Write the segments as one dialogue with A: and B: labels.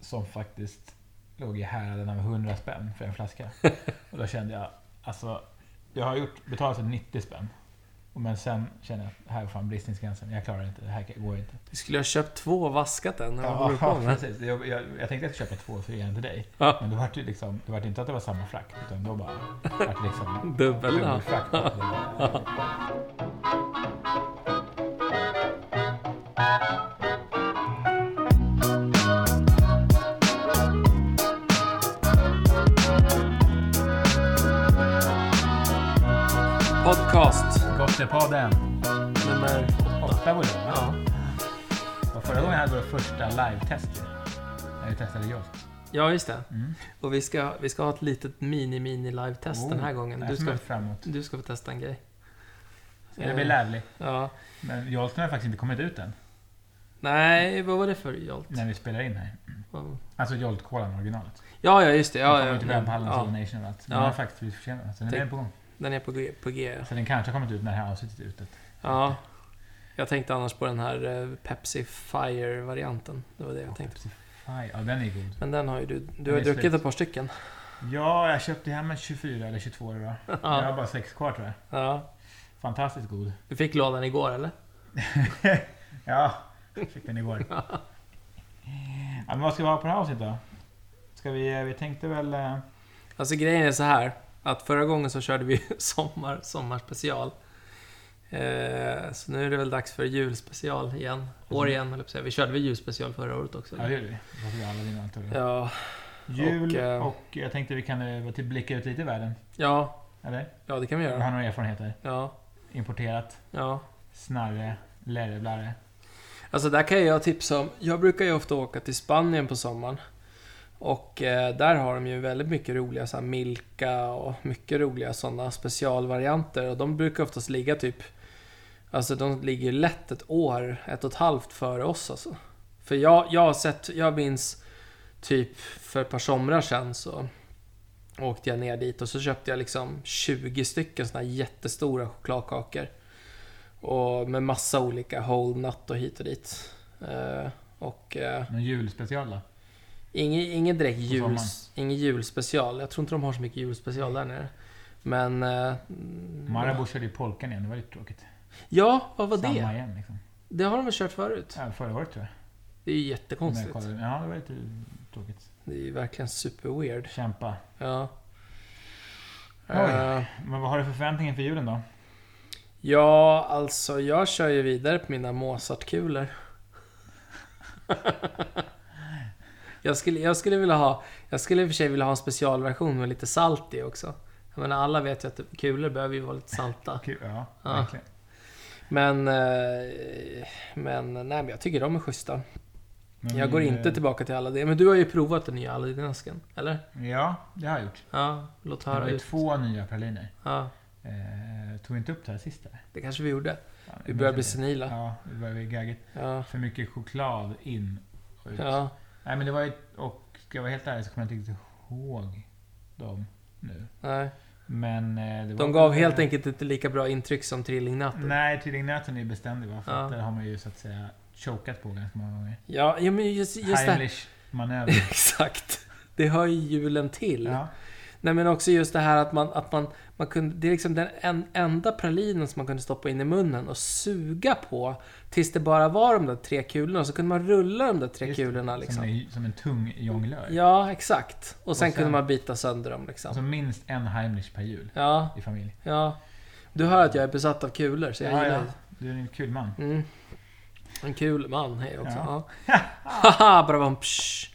A: som faktiskt låg i häraden av 100 spänn för en flaska. Och då kände jag, alltså, jag har gjort, betalat för 90 spänn. Och Men sen känner jag att här är fan bristningsgränsen. Jag klarar inte. Det här går inte.
B: Du skulle ha köpt två och vaskat en. Vad
A: Ja,
B: håller du på med?
A: precis. Jag, jag, jag tänkte att jag köpa två för en till dig.
B: Ja.
A: Men det var ju liksom, det var inte att det var samma frakt. Utan då bara... Det var liksom
B: Dubbel. ja.
A: dubbelfrakt.
B: Podcast
A: Gottepodden.
B: nummer åtta.
A: Åtta volymer.
B: Ja.
A: Och Förra gången hade vi vårt första live-test ju. När vi testade Yoast.
B: ja, just det.
A: Mm.
B: Och vi ska, vi ska ha ett litet mini-mini-live-test den här gången.
A: Du
B: Du ska,
A: framåt.
B: du ska få testa en grej.
A: Det blir
B: Eh,
A: lärlig.
B: Ja.
A: Men Yoasten har faktiskt inte kommit ut än.
B: Nej, vad var det för jolt?
A: När vi spelar in här.
B: Vad-
A: Alltså Jolt-kolan, originalet.
B: Ja, ja, just det.
A: Den
B: Ja,
A: kommer
B: ja,
A: inte bli på Hallands
B: ja.
A: All Nation och allt. Den
B: Ja.
A: har faktiskt blivit försenad. Så den är
B: Tänk-
A: på gång.
B: Den är på G. På G.
A: Så den kanske har kommit ut när det här avsnittet är ute.
B: Ja. Jag tänkte annars på den här eh, Pepsi Fire-varianten. Det var det jag tänkte.
A: Aj, ja, den är god.
B: Men den har ju du... Du
A: Den
B: har
A: är
B: druckit
A: slut.
B: ett par stycken.
A: Ja, jag köpte hem en 24 eller 22 idag. Jag har
B: Ja.
A: bara sex kvar tror jag.
B: ja.
A: Fantastiskt god.
B: Du fick lådan igår, eller?
A: ja, jag fick den igår. ja, men vad ska vi ha på det här avsnittet då? Ska vi, vi tänkte väl... eh,
B: Alltså grejen är så här att förra gången så körde vi sommar, sommarspecial. Eh, så nu är det väl dags för julspecial igen. År igen, höll jag på att säga. Vi körde väl julspecial förra året också?
A: Ja, det gör vi. Då får vi alla dina antar jag.
B: ja,
A: Jul
B: och, eh,
A: och, jag tänkte vi kan eh, till blicka ut lite i världen.
B: ja,
A: Eller?
B: ja, det kan vi
A: Du har
B: göra.
A: några erfarenheter.
B: Ja,
A: Importerat,
B: ja.
A: snarre, lärreblarre.
B: Alltså där kan jag tipsa om. Jag brukar ju ofta åka till Spanien på sommaren. Och eh, där har de ju väldigt mycket roliga så här Milka och mycket roliga sådana specialvarianter. Och de brukar oftast ligga typ... Alltså de ligger ju lätt ett år, ett och ett halvt före oss alltså. För jag, jag har sett, jag minns typ för ett par somrar sedan så åkte jag ner dit och så köpte jag liksom 20 stycken sådana här jättestora chokladkakor. Och med massa olika whole nut och hit och dit. Eh, och eh,
A: Någon julspecial då?
B: Ingen, ingen direkt
A: På sommaren.
B: jul, ingen julspecial. Jag tror inte de har så mycket julspecial där nere. Men... Eh, mm,
A: Marabou körde ju polkan igen, det var lite tråkigt.
B: Ja, vad var
A: Samma
B: det?
A: igen liksom.
B: Det har de väl kört förut?
A: Ja, förra året tror jag.
B: Det är ju
A: När jag
B: jättekonstigt.
A: kollade. Ja, det var lite tråkigt.
B: Det är ju verkligen superweird.
A: Kämpa.
B: Ja.
A: Oj.
B: Eh,
A: Men vad har du för förväntningar för julen då?
B: ja, alltså jag kör ju vidare på mina Mozartkulor. jag, skulle, jag skulle vilja ha... Jag skulle i och för sig vilja ha en specialversion med lite salt i också. Jag menar, alla vet ju att kulor behöver ju vara lite salta.
A: Kul, ja,
B: Ja.
A: verkligen.
B: Men, eh, men, nej, men jag tycker de är schyssta.
A: Mm. Men
B: jag
A: vi-
B: går inte tillbaka till alla det. Men du har ju provat den nya Aladdin-asken, eller?
A: eh, Ja, det har jag gjort.
B: Ja, låt
A: Det
B: höra
A: var ju
B: ut.
A: två nya praliner.
B: Ja,
A: Eh, tog vi inte upp det här sista?
B: det kanske vi gjorde.
A: Ja,
B: Vi
A: jag
B: börjar bli
A: minns inte.
B: senila.
A: Mm. Ja, det börjar bli gaggigt.
B: Ja,
A: För mycket choklad in och ut.
B: ja.
A: Nej men det var ju, och ska jag vara helt ärlig så kommer jag inte riktigt ihåg dem nu.
B: Nej.
A: Men eh, det var
B: De gav helt enkelt inte lika bra intryck som Trillingnatten.
A: Nej, trillingnöten är ju beständig va? För
B: Ja.
A: att där har man ju så att säga chokat på ganska många gånger.
B: Ja, ja, men just, just det här.
A: Heimlich-manöver.
B: Exakt. Det hör ju julen till.
A: Ja.
B: Nej men också just det här att man, att man, man kunde, det är liksom den en, enda pralinen som man kunde stoppa in i munnen och suga på tills det bara var de där tre kulorna. Så kunde man rulla de där tre
A: Just det,
B: kulorna
A: Som,
B: liksom.
A: en, som en tung jonglör.
B: Ja, exakt. Och sen,
A: Och sen-
B: kunde man bita sönder dem liksom.
A: Alltså minst en Heimlich per jul
B: Ja,
A: i familj.
B: ja. Du hör att jag är besatt av kulor, så jag
A: Ja,
B: gillar
A: ja.
B: det.
A: Du är en kul man.
B: Mm. En kul man, hej också.
A: Ja.
B: Ja. Haha, bara bara psh.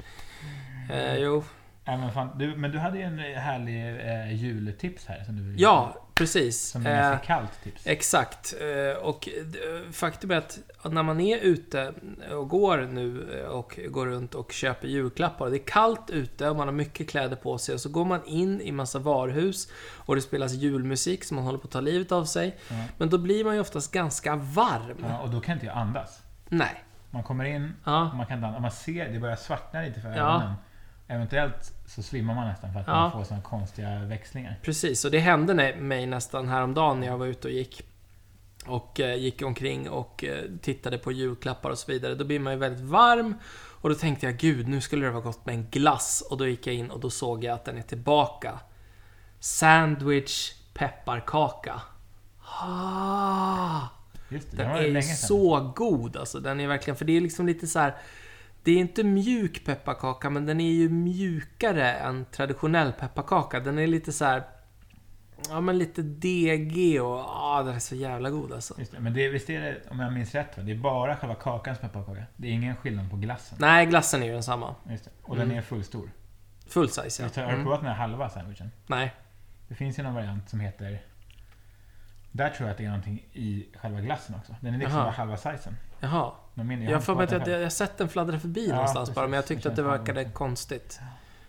B: Eh, jo.
A: Äh, men, fan, du, men du hade ju en härlig eh, jultips här. Som du,
B: Ja, precis.
A: Som är
B: Eh,
A: ganska kallt tips.
B: Exakt. Eh, Och eh, faktum är att när man är ute och går nu eh, och går runt och köper julklappar. Det är kallt ute och man har mycket kläder på sig. Och så går man in i massa varhus och det spelas julmusik som man håller på att ta livet av sig.
A: Ja.
B: Men då blir man ju oftast ganska varm.
A: Ja, och då kan inte jag andas.
B: Nej.
A: Man kommer in,
B: Ja.
A: och man kan inte andas. Och Man ser, det börjar svartna lite för
B: Ja.
A: ögonen. Eventuellt så svimmar man nästan för att
B: Ja.
A: man får såna konstiga växlingar.
B: Precis, och det hände nä- mig nästan häromdagen när jag var ute och gick. och eh, gick omkring och eh, tittade på julklappar och så vidare. Då blir man ju väldigt varm och då tänkte jag gud, nu skulle det vara gott med en glass och då gick jag in och då såg jag att den är tillbaka. Sandwich pepparkaka. Ah!
A: Just det,
B: Den
A: den var
B: är
A: ju
B: ju
A: länge sedan.
B: så god alltså. Den är verkligen, för det är liksom lite så här. Det är inte mjuk pepparkaka, men den är ju mjukare än traditionell pepparkaka. Den är lite så här. Ja, men lite degig och ah, den är så jävla god alltså.
A: Just det. Men det, visst är det, om jag minns rätt, va? det är bara själva kakan som är pepparkaka? Det är ingen skillnad på glassen?
B: Nej, glassen är ju densamma.
A: Just det. Och den
B: Mm.
A: är fullstor.
B: Full size
A: Visst
B: ja.
A: har jag
B: Mm.
A: provat den här halva sandwichen?
B: Nej.
A: Det finns ju någon variant som heter... Där tror jag att det är någonting i själva glassen också. Den är liksom
B: Jaha.
A: bara halva sizen.
B: Jaha.
A: Men min-
B: Jag har
A: har
B: för mig att
A: inte provat
B: jag,
A: den
B: jag har sett den fladdra förbi
A: Ja,
B: någonstans bara, men jag
A: precis.
B: tyckte
A: Jag
B: att det
A: känner
B: verkade
A: igen.
B: konstigt.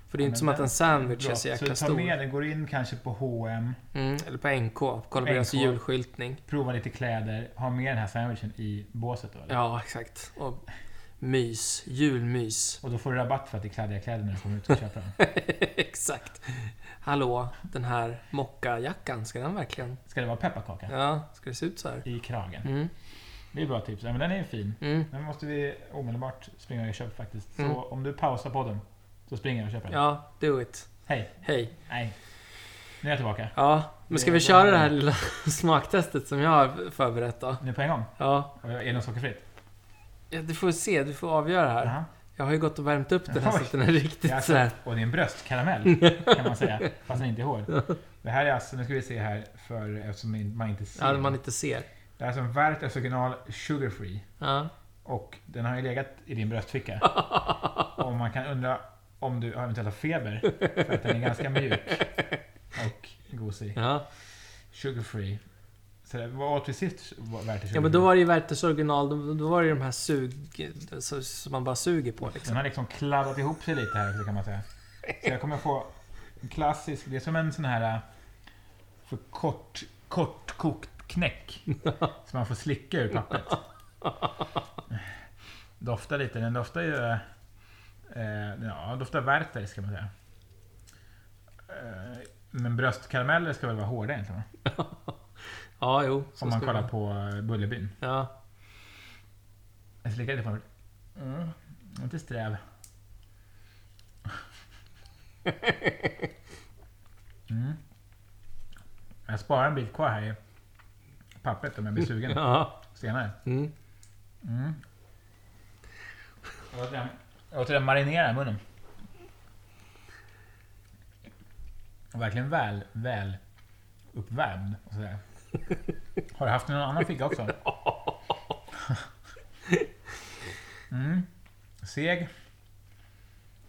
B: För det är
A: Ja,
B: inte
A: men
B: som att
A: den-
B: en sandwich är
A: Bra.
B: så jäkla
A: Så ta med
B: stor.
A: den, går in kanske på H&M
B: Mm, eller på NK. Kolla på
A: NK.
B: deras julskyltning.
A: prova lite kläder, ha med den här sandwichen i båset då. Eller?
B: Ja, exakt. Och mys. Julmys.
A: Och då får du rabatt för att det är kladdiga kläder när du kommer ut och köper dem.
B: exakt. Hallå, den här mockajackan, ska den verkligen...
A: Ska det vara pepparkaka?
B: Ja, ska det se ut så här?
A: I kragen.
B: Mm.
A: Det är bra tips. Ja, men den är ju fin.
B: Mm.
A: Den måste vi omedelbart springa och köpa faktiskt. Så
B: Mm.
A: om du pausar podden, så springer jag och köper den.
B: Ja, do it.
A: Hej!
B: Hej.
A: Nej. Nu är jag tillbaka.
B: Ja, men ska vi köra det här lilla smaktestet som jag har förberett då?
A: Nu på en gång.
B: Ja,
A: Och Är den sockerfritt?
B: Ja, du får se. Du får avgöra här.
A: Jaha.
B: Jag har ju gått och värmt upp den här så
A: Oj.
B: att den är riktigt
A: Jag
B: sådär.
A: Och det är en bröstkaramell, kan man säga. Fast den inte är hård. Det här är alltså, nu ska vi se här, för, eftersom man inte ser.
B: Ja, man inte ser.
A: Det här är som Werthers original Sugar Free.
B: Ja.
A: Och den har ju legat i din bröstficka. och man kan undra om du har eventuellt har feber. För att den är ganska mjuk. Och gosig.
B: Ja.
A: Sugar free. Så det, vad åt vi sist? Var- värt det
B: ja,
A: sugar
B: men då
A: free?
B: var det ju Werthers original. Då- Då var det ju de här sug... så- Som man bara suger på
A: Den
B: liksom.
A: har liksom kladdat ihop sig lite här också kan man säga. Så jag kommer få en klassisk, det är som en sån här äh, för kort, kortkokt knäck. som man får slicka ur pappret. Doftar lite, den doftar ju... Eh, ja, doftar Werther ska man säga. Eh, men bröstkarameller ska väl vara hårda egentligen? va?
B: Ja, jo. så
A: Om man
B: ska det
A: kollar
B: vara.
A: på eh, Bullerbyn.
B: Ja.
A: Jag slickar lite på mig. Mm. Inte sträv. Mm. Jag sparar en bit kvar här i pappret om jag blir sugen
B: ja.
A: senare.
B: Mm.
A: Mm. Jag låter den- Jag låter den marinera i munnen. Och Verkligen väl, väl uppvärmd. Och sådär. Har du haft någon annan ficka också? Mm. Seg.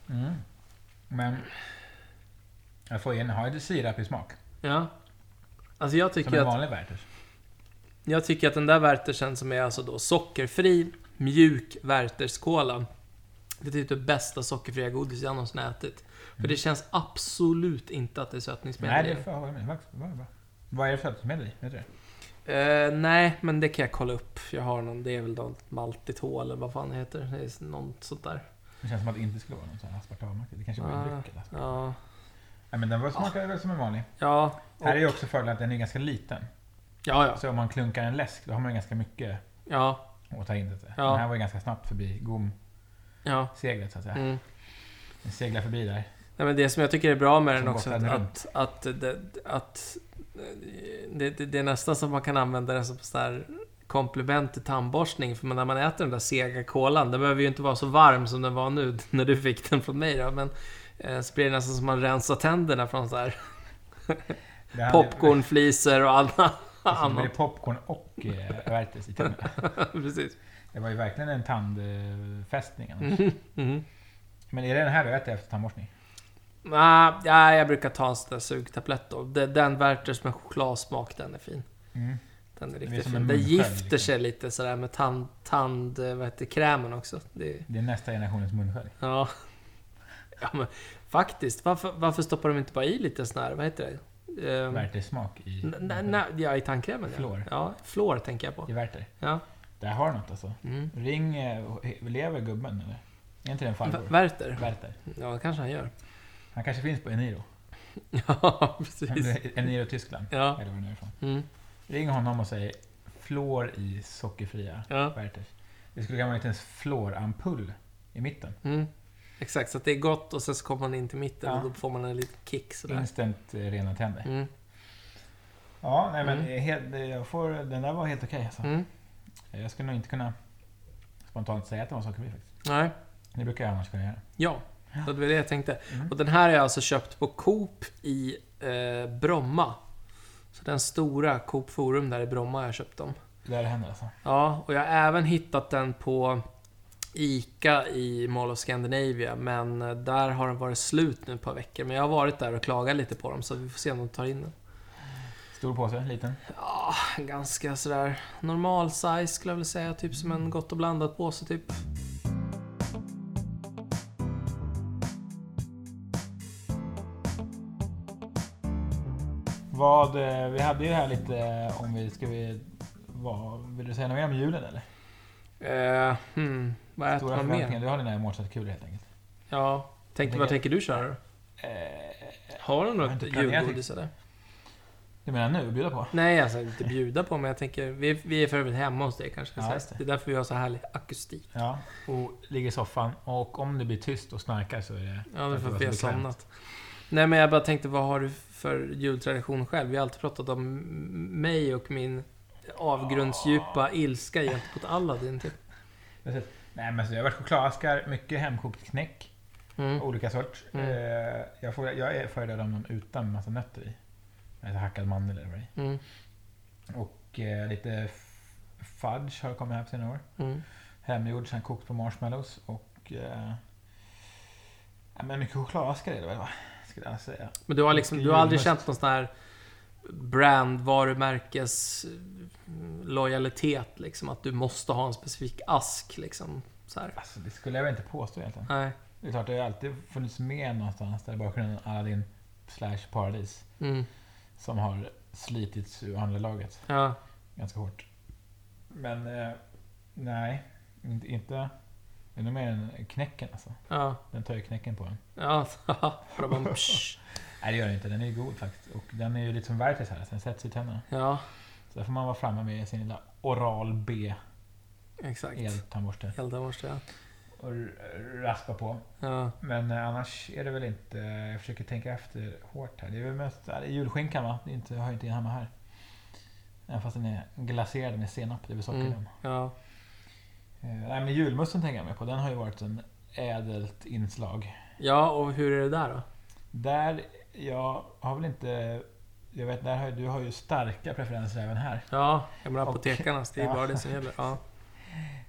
A: Mm. Men jag får in, har ju lite sirap i smak.
B: ja. Alltså jag
A: Som
B: tycker,
A: en
B: att,
A: vanlig Werthers.
B: jag tycker att den där Werthersen som är alltså då sockerfri, mjuk Wertherscola. Det är typ det bästa sockerfria godis jag någonsin ätit. För det känns absolut inte att det är
A: Mm. Nej,
B: sötningsmedel
A: det
B: i
A: är för jag håller med. Vad- vad- vad- Vad är det för sötningsmedel i? Vet du det?
B: Eh, nej, men det kan jag kolla upp. Jag har någon, det är väl något maltigt hål eller vad fan det heter. Det är något sånt där.
A: Det känns som att det inte skulle vara någon sån här aspartammaktig. Det kanske var
B: Ah.
A: en dryck eller?
B: Ja,
A: Nej, men den var- smakar väl som en vanlig.
B: ja, och,
A: Här är ju också fördelen att den är ganska liten.
B: ja, ja,
A: Så om man klunkar en läsk, då har man ju ganska mycket
B: ja,
A: att ta in. Så att säga.
B: Ja.
A: Den här var ju ganska snabbt förbi gomseglet,
B: ja.
A: så att säga.
B: Mm.
A: Den seglar förbi där.
B: Nej, men det som jag tycker är bra med den
A: Som
B: också,
A: bottnar
B: att, att, det, att eh, det, det, det är nästan som att man kan använda den som sån här komplement till tandborstning. För när man äter den där sega kolan, den behöver ju inte vara så varm som den var nu när du fick den från mig då. Men eh, så blir det nästan som att man rensar tänderna från så här
A: Det hade-
B: popcornfliser och annat.
A: Precis, Det
B: annat.
A: blev popcorn och eh, värtes i tunnan.
B: Precis.
A: Det var ju verkligen en tandfästning. annars.
B: Mm.
A: Men är det den här du äter efter tandborstning?
B: Nej, nej, Ah, jag brukar ta en sån där sugtablett då. Det- Den Werthers med chokladsmak, den är fin.
A: Mm.
B: Den är
A: är
B: riktigt
A: som
B: fin.
A: en
B: Den
A: munskölj,
B: gifter
A: liksom.
B: sig lite sådär med tand, tand eh, vad heter, det, krämen också. Det, är-
A: Det är nästa generationens munskölj.
B: ja. ja, men faktiskt. Varför, varför stoppar de inte bara i lite sån här, vad heter det? Ehm,
A: Värtes smak i,
B: n- n- n- ja, i tandkrämen ja.
A: Flor.
B: Ja, flor tänker jag på.
A: i värter.
B: Ja.
A: Där har du något alltså.
B: Mm.
A: Ring... eh, Lever gubben eller? Är inte det en
B: V-
A: farbror?
B: Werther?
A: Werther.
B: Ja, det kanske han gör.
A: Han kanske finns på Eniro.
B: Ja, precis.
A: Eniro Tyskland.
B: Ja.
A: Eller var det nu är ifrån.
B: Mm.
A: Ring honom och säg fluor i sockerfria
B: Ja.
A: Werthers. Det skulle kunna vara en liten fluorampull i mitten.
B: Mm. Exakt, så att det är gott och sen så kommer man in till mitten
A: Ja.
B: och då får man en liten kick sådär.
A: Instant eh, rena tänder.
B: Mm.
A: Ja, nej men
B: Mm.
A: eh, helt, eh, jag får, den där var helt okej alltså.
B: Mm.
A: Jag skulle nog inte kunna spontant säga att den var sockerfri faktiskt.
B: Nej.
A: Det brukar jag annars kunna göra.
B: Ja, det var det jag tänkte.
A: Mm.
B: Och den här är alltså köpt på Coop i eh, Bromma. Så den stora Coop Forum där i Bromma har jag köpt dem.
A: Där händer alltså.
B: Ja, och jag har även hittat den på ICA i Mall of Scandinavia, men eh, där har den varit slut nu ett par veckor. Men jag har varit där och klagat lite på dem, så vi får se om de tar in den.
A: Stor påse, liten.
B: Ja, ganska sådär normal size skulle jag vilja säga. Typ som
A: Mm.
B: en gott och blandat påse typ.
A: Vad, eh, vi hade ju det här lite eh, om vi, ska vi, vad, vill du säga något mer om julen eller?
B: Eh, hmm, vad äter
A: Stora
B: man mer?
A: förväntningar. Du har dina målsättningskulor helt enkelt.
B: Ja, tänkte, vad tänker du köra då?
A: Eh,
B: Har du
A: Jag har
B: något
A: inte planerat
B: julgodis eller?
A: du menar nu, att bjuda på?
B: Nej, alltså inte bjuda på, men jag tänker... Vi, vi är för övrigt hemma hos dig kanske.
A: Ja,
B: så
A: just det.
B: det. är därför vi har så härlig akustik.
A: Ja, och ligger i soffan. Och om det blir tyst och snarkar så är det...
B: Ja, det är
A: det
B: för
A: var
B: att vi har
A: så bekvämt.
B: somnat. Nej, men jag bara tänkte, vad har du för jultradition själv? Vi har alltid pratat om m- mig och min avgrundsdjupa ilska gentemot Aladdin, typ.
A: Nej men så jag har varit chokladaskar, mycket hemkokt knäck.
B: Mm.
A: Olika sorts.
B: Mm.
A: Eh, jag, får, jag är föredrar dem utan massa nötter i. Alltså hackad mandel eller vad det
B: Mm.
A: är. Och eh, lite f- fudge har kommit här på senare år.
B: Mm.
A: Hemgjord, sen kokt på marshmallows och... Eh, ja, men mycket chokladaskar är det väl va? Skulle jag säga.
B: Men du har liksom, du har aldrig
A: Julmust.
B: känt någon sån här brand, varumärkes eh, lojalitet liksom? Att du måste ha en specifik ask liksom? Så här.
A: Alltså, det skulle jag väl inte påstå egentligen.
B: Nej.
A: Det är klart, det har ju alltid funnits med någonstans där i bakgrunden. Aladdin slash paradis.
B: Mm.
A: Som har slitits ur underlaget
B: Ja.
A: ganska hårt. Men eh, nej, inte... inte det är nog mer än knäcken alltså.
B: Ja.
A: Den tar ju knäcken på en.
B: Ja. Bara bara, psch.
A: Nej det gör den inte, den är ju god faktiskt. Och den är ju lite som Werthers här, så den sätts i tänderna.
B: ja,
A: Så där får man vara framme med sin lilla Oral B
B: exakt.
A: eltandborste
B: Eldamorste, ja.
A: och r- raspa på.
B: ja.
A: Men eh, annars är det väl inte, jag försöker tänka efter hårt här. Det är väl mest ja, det är julskinkan va? Det är inte, har ju inte hemma här. Även fast den är glaserad med senap, det är väl socker i
B: Mm.
A: den.
B: Ja.
A: Eh, Nej men julmusten tänker jag mer på, den har ju varit en ädelt inslag.
B: Ja, och hur är det där då?
A: Där, jag har väl inte, jag vet, där har, ju- du har ju starka preferenser även här.
B: Ja, jag menar
A: Och-
B: apotekarnas. Det är
A: ja.
B: bara det som gäller. Ja.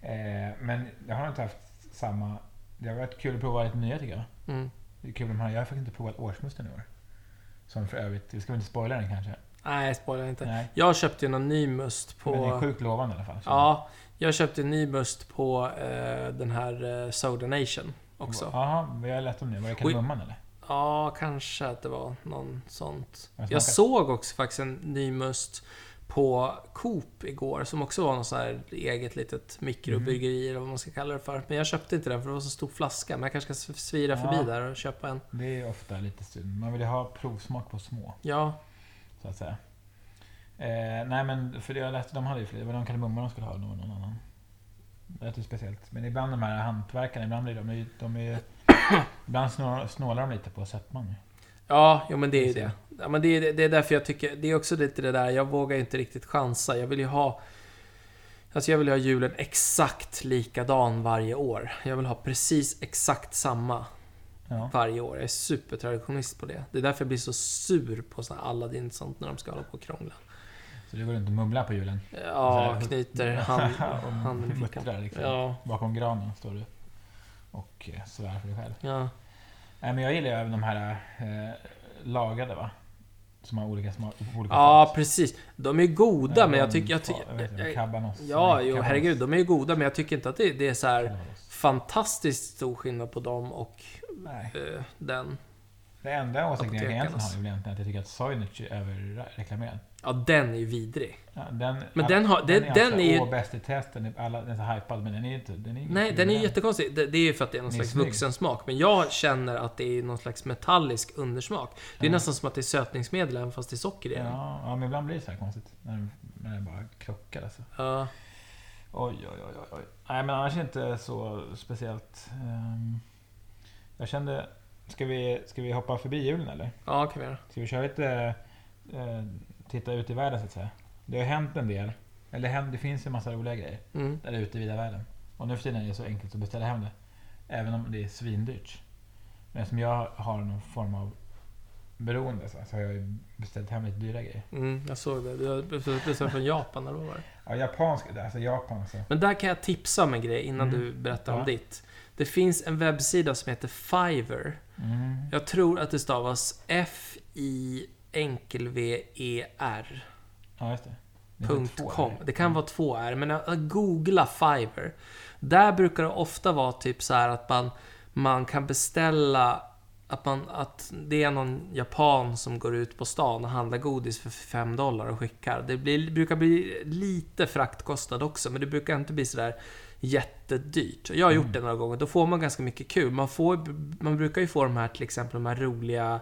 A: Eh, men jag har inte haft samma... Det har varit kul att prova lite nya tycker jag.
B: Mm.
A: Det är kul med de här. Jag har faktiskt inte provat årsmusten i år. Som för övrigt, vi ska väl inte spoila den kanske?
B: Nej, spoila inte.
A: Nej.
B: Jag köpte ju någon ny must på...
A: Men den är sjukt lovande i alla fall. så-
B: Ja, jag köpte en ny must på eh, den här eh, Soda Nation också. Ja.
A: Jaha, vi har lärt om det. Var det
B: Oj.
A: kardemumman eller?
B: kanske att det var någon sånt.
A: Har det
B: Jag
A: smakat?
B: såg också faktiskt en ny must på Coop igår, som också var någon sån här eget litet mikrobryggeri eller vad man ska kalla det för. Men jag köpte inte den för det var så stor flaska, men jag kanske ska svira förbi
A: Ja.
B: där och köpa en.
A: Det är ju ofta lite synd. Man vill ju ha provsmak på små,
B: Ja,
A: så att säga. Eh, nej men, för det jag läste, de hade ju fler. Det var någon kardemumma de skulle ha, och det var någon annan. Det lät ju speciellt. Men ibland de här hantverkarna, ibland blir de, de, är ju- de är ju... Ibland snå- snålar de lite på sötman ju.
B: Ja, jo, men det är ju
A: Så.
B: det. Ja, men det, är, det är därför jag tycker, det är också lite det där, jag vågar ju inte riktigt chansa. Jag vill ju ha Alltså jag vill ju ha julen exakt likadan varje år. Jag vill ha precis exakt samma
A: Ja.
B: varje år. Jag är supertraditionist på det. Det är därför jag blir så sur på såna här Aladdin och sånt när de ska hålla på och krångla.
A: Så du går runt och mumlar på julen?
B: Ja, knyter hand,
A: och
B: handen i fickan.
A: muttrar liksom.
B: Ja,
A: Bakom granen står du och eh, svär för dig själv.
B: ja.
A: Nej, men jag gillar ju även de här eh, lagade va? Som har olika smak. Olika
B: ja,
A: fat.
B: precis. De är goda,
A: Eh,
B: men jag
A: de
B: tycker... Jag
A: fa-
B: tycker
A: vad heter de?
B: jag- jag-
A: Cabanos.
B: ja,
A: Nej,
B: jo,
A: Cabanos.
B: herregud. De är ju goda, men jag tycker inte att det, det är så här...
A: Cabanos.
B: fantastiskt stor skillnad på dem och
A: Nej.
B: eh, den.
A: Den enda åsikten jag egentligen
B: Apotekarnas.
A: har är väl egentligen att jag tycker att Soinic är överreklamerad.
B: Ja, den är ju vidrig.
A: Ja, den,
B: Men den har- den- den
A: alltså,
B: är ju-
A: Åh, bäst i test. Den är, alla, den är så hypad, men den är ju inte... Den är ju
B: Nej,
A: inte
B: den är
A: den.
B: ju jättekonstig. Det, det är ju för att det är någon
A: Den är
B: slags
A: snygg.
B: vuxensmak. Men jag känner att det är någon slags metallisk undersmak. Det är
A: Ja.
B: nästan som att det är sötningsmedel även fast det är socker i den. Ja.
A: Ja, ja, men ibland blir det så här konstigt. När den, när den bara krockar alltså. Oj, oj, oj, oj, oj. Nej, men annars är det inte så speciellt. ehm, jag kände... Ska vi, ska vi hoppa förbi julen eller?
B: ja, kan vi göra.
A: Ska vi köra lite... eh, titta ut i världen så att säga. Det har hänt en del. Eller hänt, det finns ju en massa roliga grejer.
B: Mm.
A: Där ute i vida världen. Och nu för tiden är det så enkelt att beställa hem det. Även om det är svindyrt. Men eftersom jag har någon form av beroende så, så har jag ju beställt hem lite dyra grejer.
B: Mm, jag såg det. Du har beställt beställt från Japan eller vad var det?
A: Ja, japansk, alltså Japan så.
B: Men där kan jag tipsa om en grej innan
A: Mm.
B: du berättar
A: Ja.
B: om ditt. Det finns en webbsida som heter Fiverr.
A: Mm.
B: Jag tror att det stavas E F-I-V-E-R.
A: Ja, just det. Det är
B: Punkt
A: två, Mm.
B: .com.
A: eller?
B: Det kan vara två R, men jag- jag googla Fiverr. Där brukar det ofta vara typ så här att man, man kan beställa att, man, att det är någon japan som går ut på stan och handlar godis för 5 dollar och skickar. Det blir, brukar bli lite fraktkostnad också, men det brukar inte bli sådär jättedyrt. Jag har gjort
A: Mm.
B: det några gånger, då får man ganska mycket kul. Man, får, man brukar ju få de här till exempel de här roliga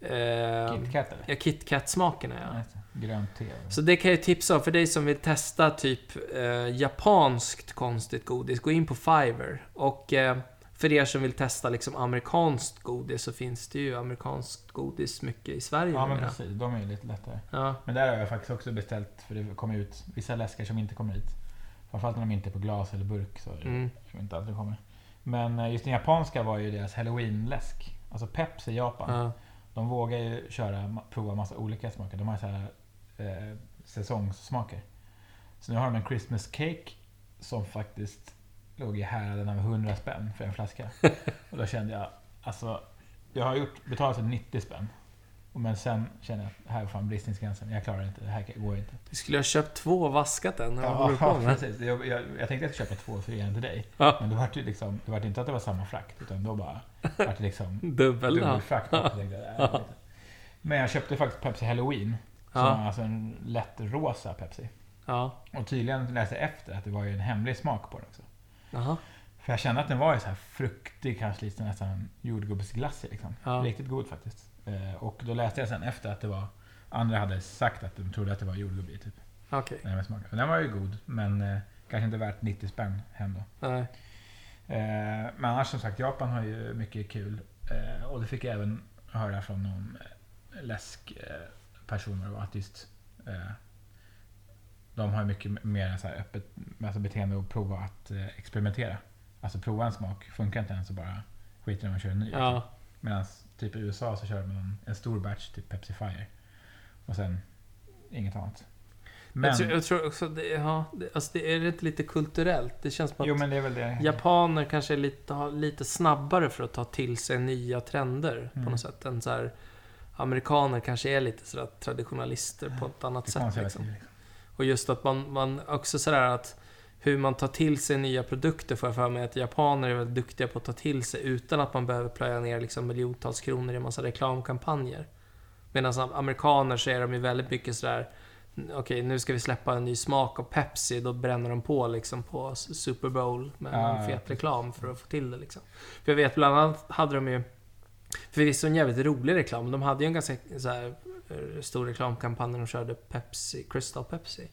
B: eh,
A: KitKat eller?
B: ja, KitKat-smakerna. Ja.
A: Ja, just det. Grönt te. eller?
B: Så det kan jag ju tipsa om för dig som vill testa typ eh, japanskt konstigt godis. Gå in på Fiverr. Och eh, för er som vill testa liksom amerikanskt godis så finns det ju amerikanskt godis mycket i Sverige
A: Ja, men
B: numera.
A: precis. De är ju lite lättare.
B: Ja,
A: Men där har jag faktiskt också beställt, för det kommer ut vissa läskar som inte kommer hit. Framförallt när de inte är på glas eller burk så är det
B: mm.
A: som inte alltid kommer. Men eh, just den japanska var ju deras halloween-läsk. Alltså Pepsi i Japan.
B: ja.
A: De vågar ju köra, ma- prova massa olika smaker. De har så här, eh, säsongssmaker. Så nu har de en Christmas cake som faktiskt låg i häraden av 100 spänn för en flaska. Och då kände jag, alltså, jag har gjort, betalat för 90 spänn. Och Men sen kände jag att här är fan bristningsgränsen. Jag klarar inte, det här går inte.
B: Du skulle ha köpt två och vaskat en. Vad håller
A: Ja,
B: du på med?
A: precis. Jag, jag, jag tänkte att jag skulle köpa två för en till dig.
B: Ja.
A: Men det var, liksom, det var inte att det var samma frakt, utan då bara vart det liksom
B: Dubbel då.
A: dubbelfrakt. Jag tänkte, "Nej, jag vet inte." Men jag köpte faktiskt Pepsi Halloween. Som
B: Ja.
A: var alltså en lätt rosa Pepsi.
B: Ja.
A: Och tydligen läste jag efter att det var ju en hemlig smak på den också.
B: Jaha.
A: För jag kände att den var ju så här fruktig, kanske lite nästan jordgubbsglassig. Liksom.
B: Ja.
A: Riktigt god faktiskt. Eh, Och då läste jag sen efter att det var Andra hade sagt att de trodde att det var jordgubb i typ.
B: Okej.
A: när Den, smakade. den var ju god, men eh, kanske inte värt 90 spänn hem då.
B: Nej.
A: Eh, men annars som sagt, Japan har ju mycket kul. Eh, och det fick jag även höra från någon eh, läskperson eh, att just eh, de har ju mycket mer så här öppet alltså beteende och prova att eh, experimentera. Alltså prova en smak, funkar inte den så bara skiter de och kör en ny.
B: Ja.
A: Medan typ i USA så kör de en, en stor batch, typ Pepsi Fire. Och sen inget annat. Men,
B: Jag, tror, jag tror också det, ja, det, alltså det är det inte lite kulturellt. Det känns som att
A: jo men det är väl det.
B: Eh, Japaner kanske är lite, har lite snabbare för att ta till sig nya trender på
A: Mm.
B: något sätt. Än så här, amerikaner kanske är lite sådär traditionalister på ett annat
A: det
B: sätt.
A: konservativa,
B: Liksom.
A: liksom.
B: Och just att man, man också sådär att hur man tar till sig nya produkter får jag för mig att japaner är väldigt duktiga på att ta till sig utan att man behöver plöja ner liksom miljontals kronor i en massa reklamkampanjer. Medan am- amerikaner så är de ju väldigt mycket sådär Okej, nu ska vi släppa en ny smak av Pepsi. Då bränner de på liksom på S- Super Bowl med
A: Ja,
B: en
A: ja,
B: fet
A: precis.
B: reklam för att få till det liksom. För jag vet bland annat hade de ju Förvisso en jävligt rolig reklam. De hade ju en ganska så här, eh, stor reklamkampanj när de körde Pepsi, Crystal Pepsi.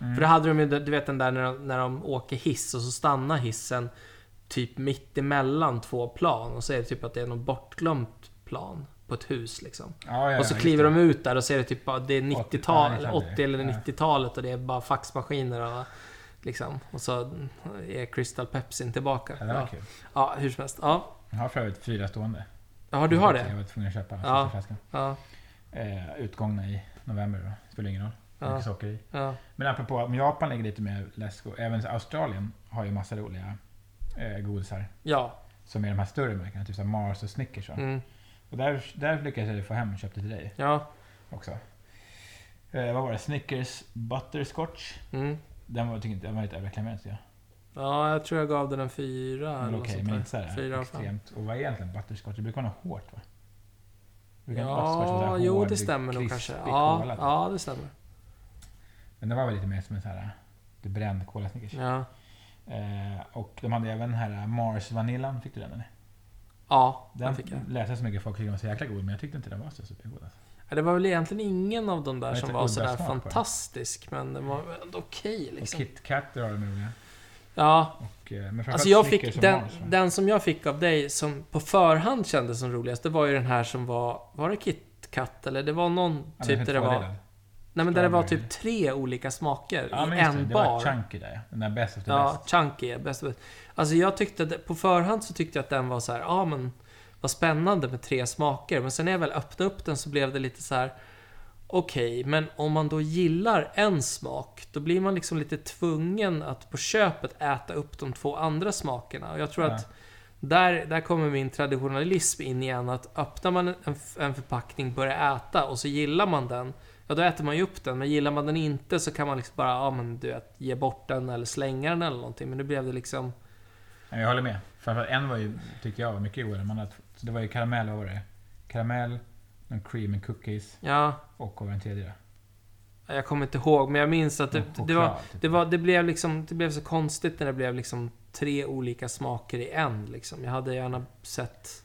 A: Mm.
B: För då hade de ju, du vet den där när de, när de åker hiss och så stannar hissen typ mitt emellan två plan och så är det typ att det är någon bortglömt plan på ett hus liksom.
A: Ja, ja,
B: och så
A: ja,
B: kliver
A: just
B: de ut där och ser det typ bara- det är 90-tal,
A: ja, jag
B: eller
A: känner det.
B: 80 eller
A: Ja.
B: 90-talet och det är bara faxmaskiner och liksom. Och så är Crystal Pepsin tillbaka.
A: Ja, det var
B: Ja,
A: kul.
B: ja hur som helst. Ja,
A: Jag har för övrigt fyra stående.
B: ja du har
A: Jag
B: det?
A: var tvungen att köpa
B: Ja.
A: sista flaskan.
B: Ja,
A: Eh, utgångna i november då. Spelar ingen roll.
B: ja,
A: Mycket socker i.
B: ja.
A: Men apropå om Japan ligger lite mer läsk och även Australien har ju massa roliga eh, godisar.
B: Ja,
A: Som är de här större märkena, typ som Mars och Snickers. va?
B: mm,
A: Och där, där lyckades jag få hem och köpte till dig
B: ja,
A: också. Eh, vad var det? Snickers Butterscotch.
B: mm.
A: Den var, tycker inte, den var lite överreklamerad tycker jag.
B: Ja, jag tror jag gav den en fyra eller
A: men
B: något
A: Mm, okej,
B: sånt
A: men
B: där.
A: inte så här
B: Fyra av fem.
A: extremt. Och vad är egentligen butterscotch? Det brukar vara något hårt va? Du kan också få så
B: Ja,
A: här
B: jo
A: hård,
B: det stämmer nog kanske.
A: krispig
B: Ja,
A: kola, typ.
B: ja, det stämmer.
A: Men det var väl lite mer som en så här... Det bränd kola Snickers.
B: Ja.
A: Eh, och de hade även den här Mars Vanillan. Fick du den eller?
B: Ja, den
A: Den
B: fick jag.
A: läste jag så mycket folk tyckte den var så jäkla god, men jag tyckte inte den var så supergod. Alltså.
B: Ja, Det var väl egentligen ingen av de där
A: Jag
B: som
A: heter
B: var
A: Udda
B: sådär
A: smak på den.
B: fantastisk, men den var väl ändå okej
A: Liksom.
B: liksom.
A: Och KitKat var de roliga.
B: Ja,
A: Och, eh, men framförallt
B: Alltså jag
A: Snickers
B: fick
A: och
B: den,
A: Mars, va?
B: den som jag fick av dig som på förhand kändes som roligast, det var ju den här som var, var det KitKat eller det var någon
A: Ja, den
B: typ
A: finns
B: där det var,
A: tvådelad.
B: nej men där det var
A: Strawberry.
B: typ tre olika smaker
A: Ja,
B: i
A: men just det.
B: en
A: Det var
B: bar.
A: Chunky där ja. Den där Best of the
B: Ja,
A: Best.
B: chunky är bäst. Alltså jag tyckte, att- på förhand så tyckte jag att den var så här, ja men vad spännande med tre smaker. Men sen när jag väl öppnade upp den så blev det lite så här. Okej, men om man då gillar en smak, då blir man liksom lite tvungen att på köpet äta upp de två andra smakerna. Och jag tror
A: Ja.
B: att där, där kommer min traditionalism in igen, att öppnar man en, f- en förpackning, börjar äta och så gillar man den, ja då äter man ju upp den. Men gillar man den inte så kan man liksom bara, ja men du vet, ge bort den eller slänga den eller någonting. Men nu blev det liksom,
A: Ja, jag håller med. Framförallt en var ju, tyckte jag var mycket godare. Man hade, så det var ju karamell, vad var det? Karamell, någon cream and cookies
B: ja,
A: och vad var den tredje då?
B: jag kommer inte ihåg, men jag minns att det,
A: Någon
B: det var
A: choklad, typ.
B: Det, var, det, blev liksom, det blev så konstigt när det blev liksom tre olika smaker i en. Liksom. Jag hade gärna sett...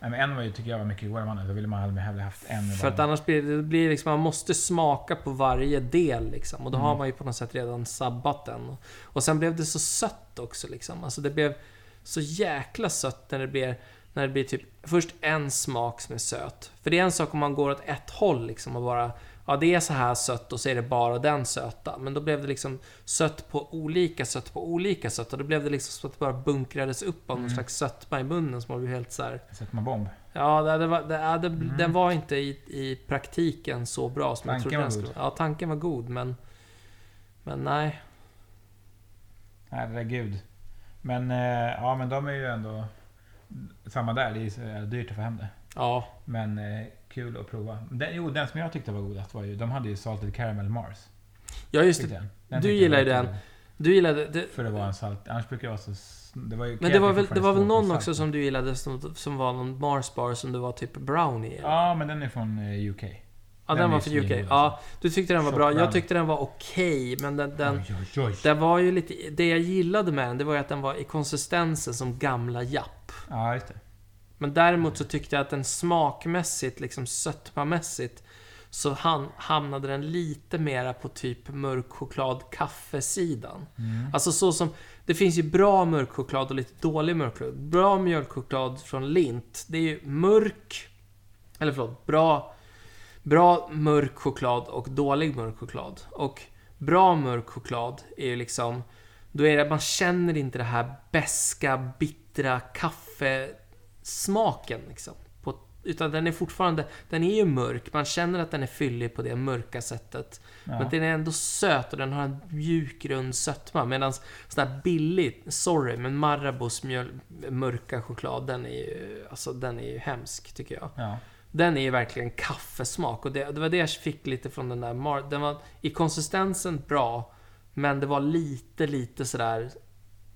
A: Nej, men en var ju, tycker jag var mycket godare än den andra. Då ville man hellre hellre haft en. i
B: För att
A: varje.
B: annars blir det- det blir liksom, man måste smaka på varje del liksom. Och då har
A: Mm.
B: man ju på något sätt redan sabbat den. Och sen blev det så sött också liksom. Alltså det blev så jäkla sött när det blir, när det blir typ först en smak som är söt. För det är en sak om man går åt ett håll liksom och bara Ja, det är så här sött och så är det bara den söta. Men då blev det liksom sött på olika, sött på olika sött. Och då blev det liksom så att det bara bunkrades upp av någon
A: Mm.
B: slags sötma i munnen som man blev helt så här.
A: Sätter man bomb?
B: Ja, det, det var, det, ja, det, den var inte i, i praktiken så bra som
A: Mhm. Tanken
B: jag trodde
A: var
B: den skulle
A: god.
B: Ja, tanken var god, men... Men nej.
A: Herregud. Men, eh, ja, men de är ju ändå... Samma där, det är ju så jävla dyrt att få hem det.
B: Ja,
A: Men eh, kul att prova. Den, jo, den som jag tyckte var godast var ju... De hade ju Salted Caramel Mars.
B: ja just
A: Tyckte
B: det.
A: jag. Den
B: Du
A: tyckte jag
B: gillar
A: var
B: ju den.
A: jättegod.
B: Du gillade... Det,
A: För det var en salt. Annars brukar det vara så... s- Det var ju
B: men det var,
A: Kefir
B: väl, det var väl
A: fortfarande
B: någon
A: stor på
B: också
A: salten.
B: som du gillade som, som var någon Mars bar som du var typ brownie i?
A: Ja, men den är från eh, UK.
B: ja
A: den
B: den var
A: är
B: för
A: svingod
B: UK.
A: alltså.
B: Ja, du tyckte den var
A: Tjock
B: bra. Jag
A: brownie.
B: tyckte den var okej, men den... den
A: Oj, oj, oj.
B: det var ju lite, det jag gillade med den, det var ju att den var i konsistensen som gamla Japp.
A: Ja, just det.
B: Men däremot så tyckte jag att den smakmässigt, liksom sötmamässigt, så han, hamnade den lite mera på typ mörk choklad kaffesidan.
A: Mm.
B: Alltså så som, det finns ju bra mörkchoklad och lite dålig mörkchoklad. Bra mjölkchoklad från Lint, det är ju mörk, eller förlåt, bra, bra mörk choklad och dålig mörk choklad. Och bra mörk choklad är ju liksom, då är det, man känner inte det här beska, bittra kaffesmaken liksom. På, utan den är fortfarande, den är ju mörk, man känner att den är fyllig på det mörka sättet. Men
A: Ja.
B: den är ändå söt och den har en mjuk rund sötma. Medan sån här billig, sorry, men Marabous mjöl, mörka choklad, den är ju, alltså, den är ju hemsk tycker jag.
A: ja.
B: Den är ju verkligen kaffesmak och det, det var det jag fick lite från den där Mar Den var i konsistensen bra, men det var lite, lite sådär,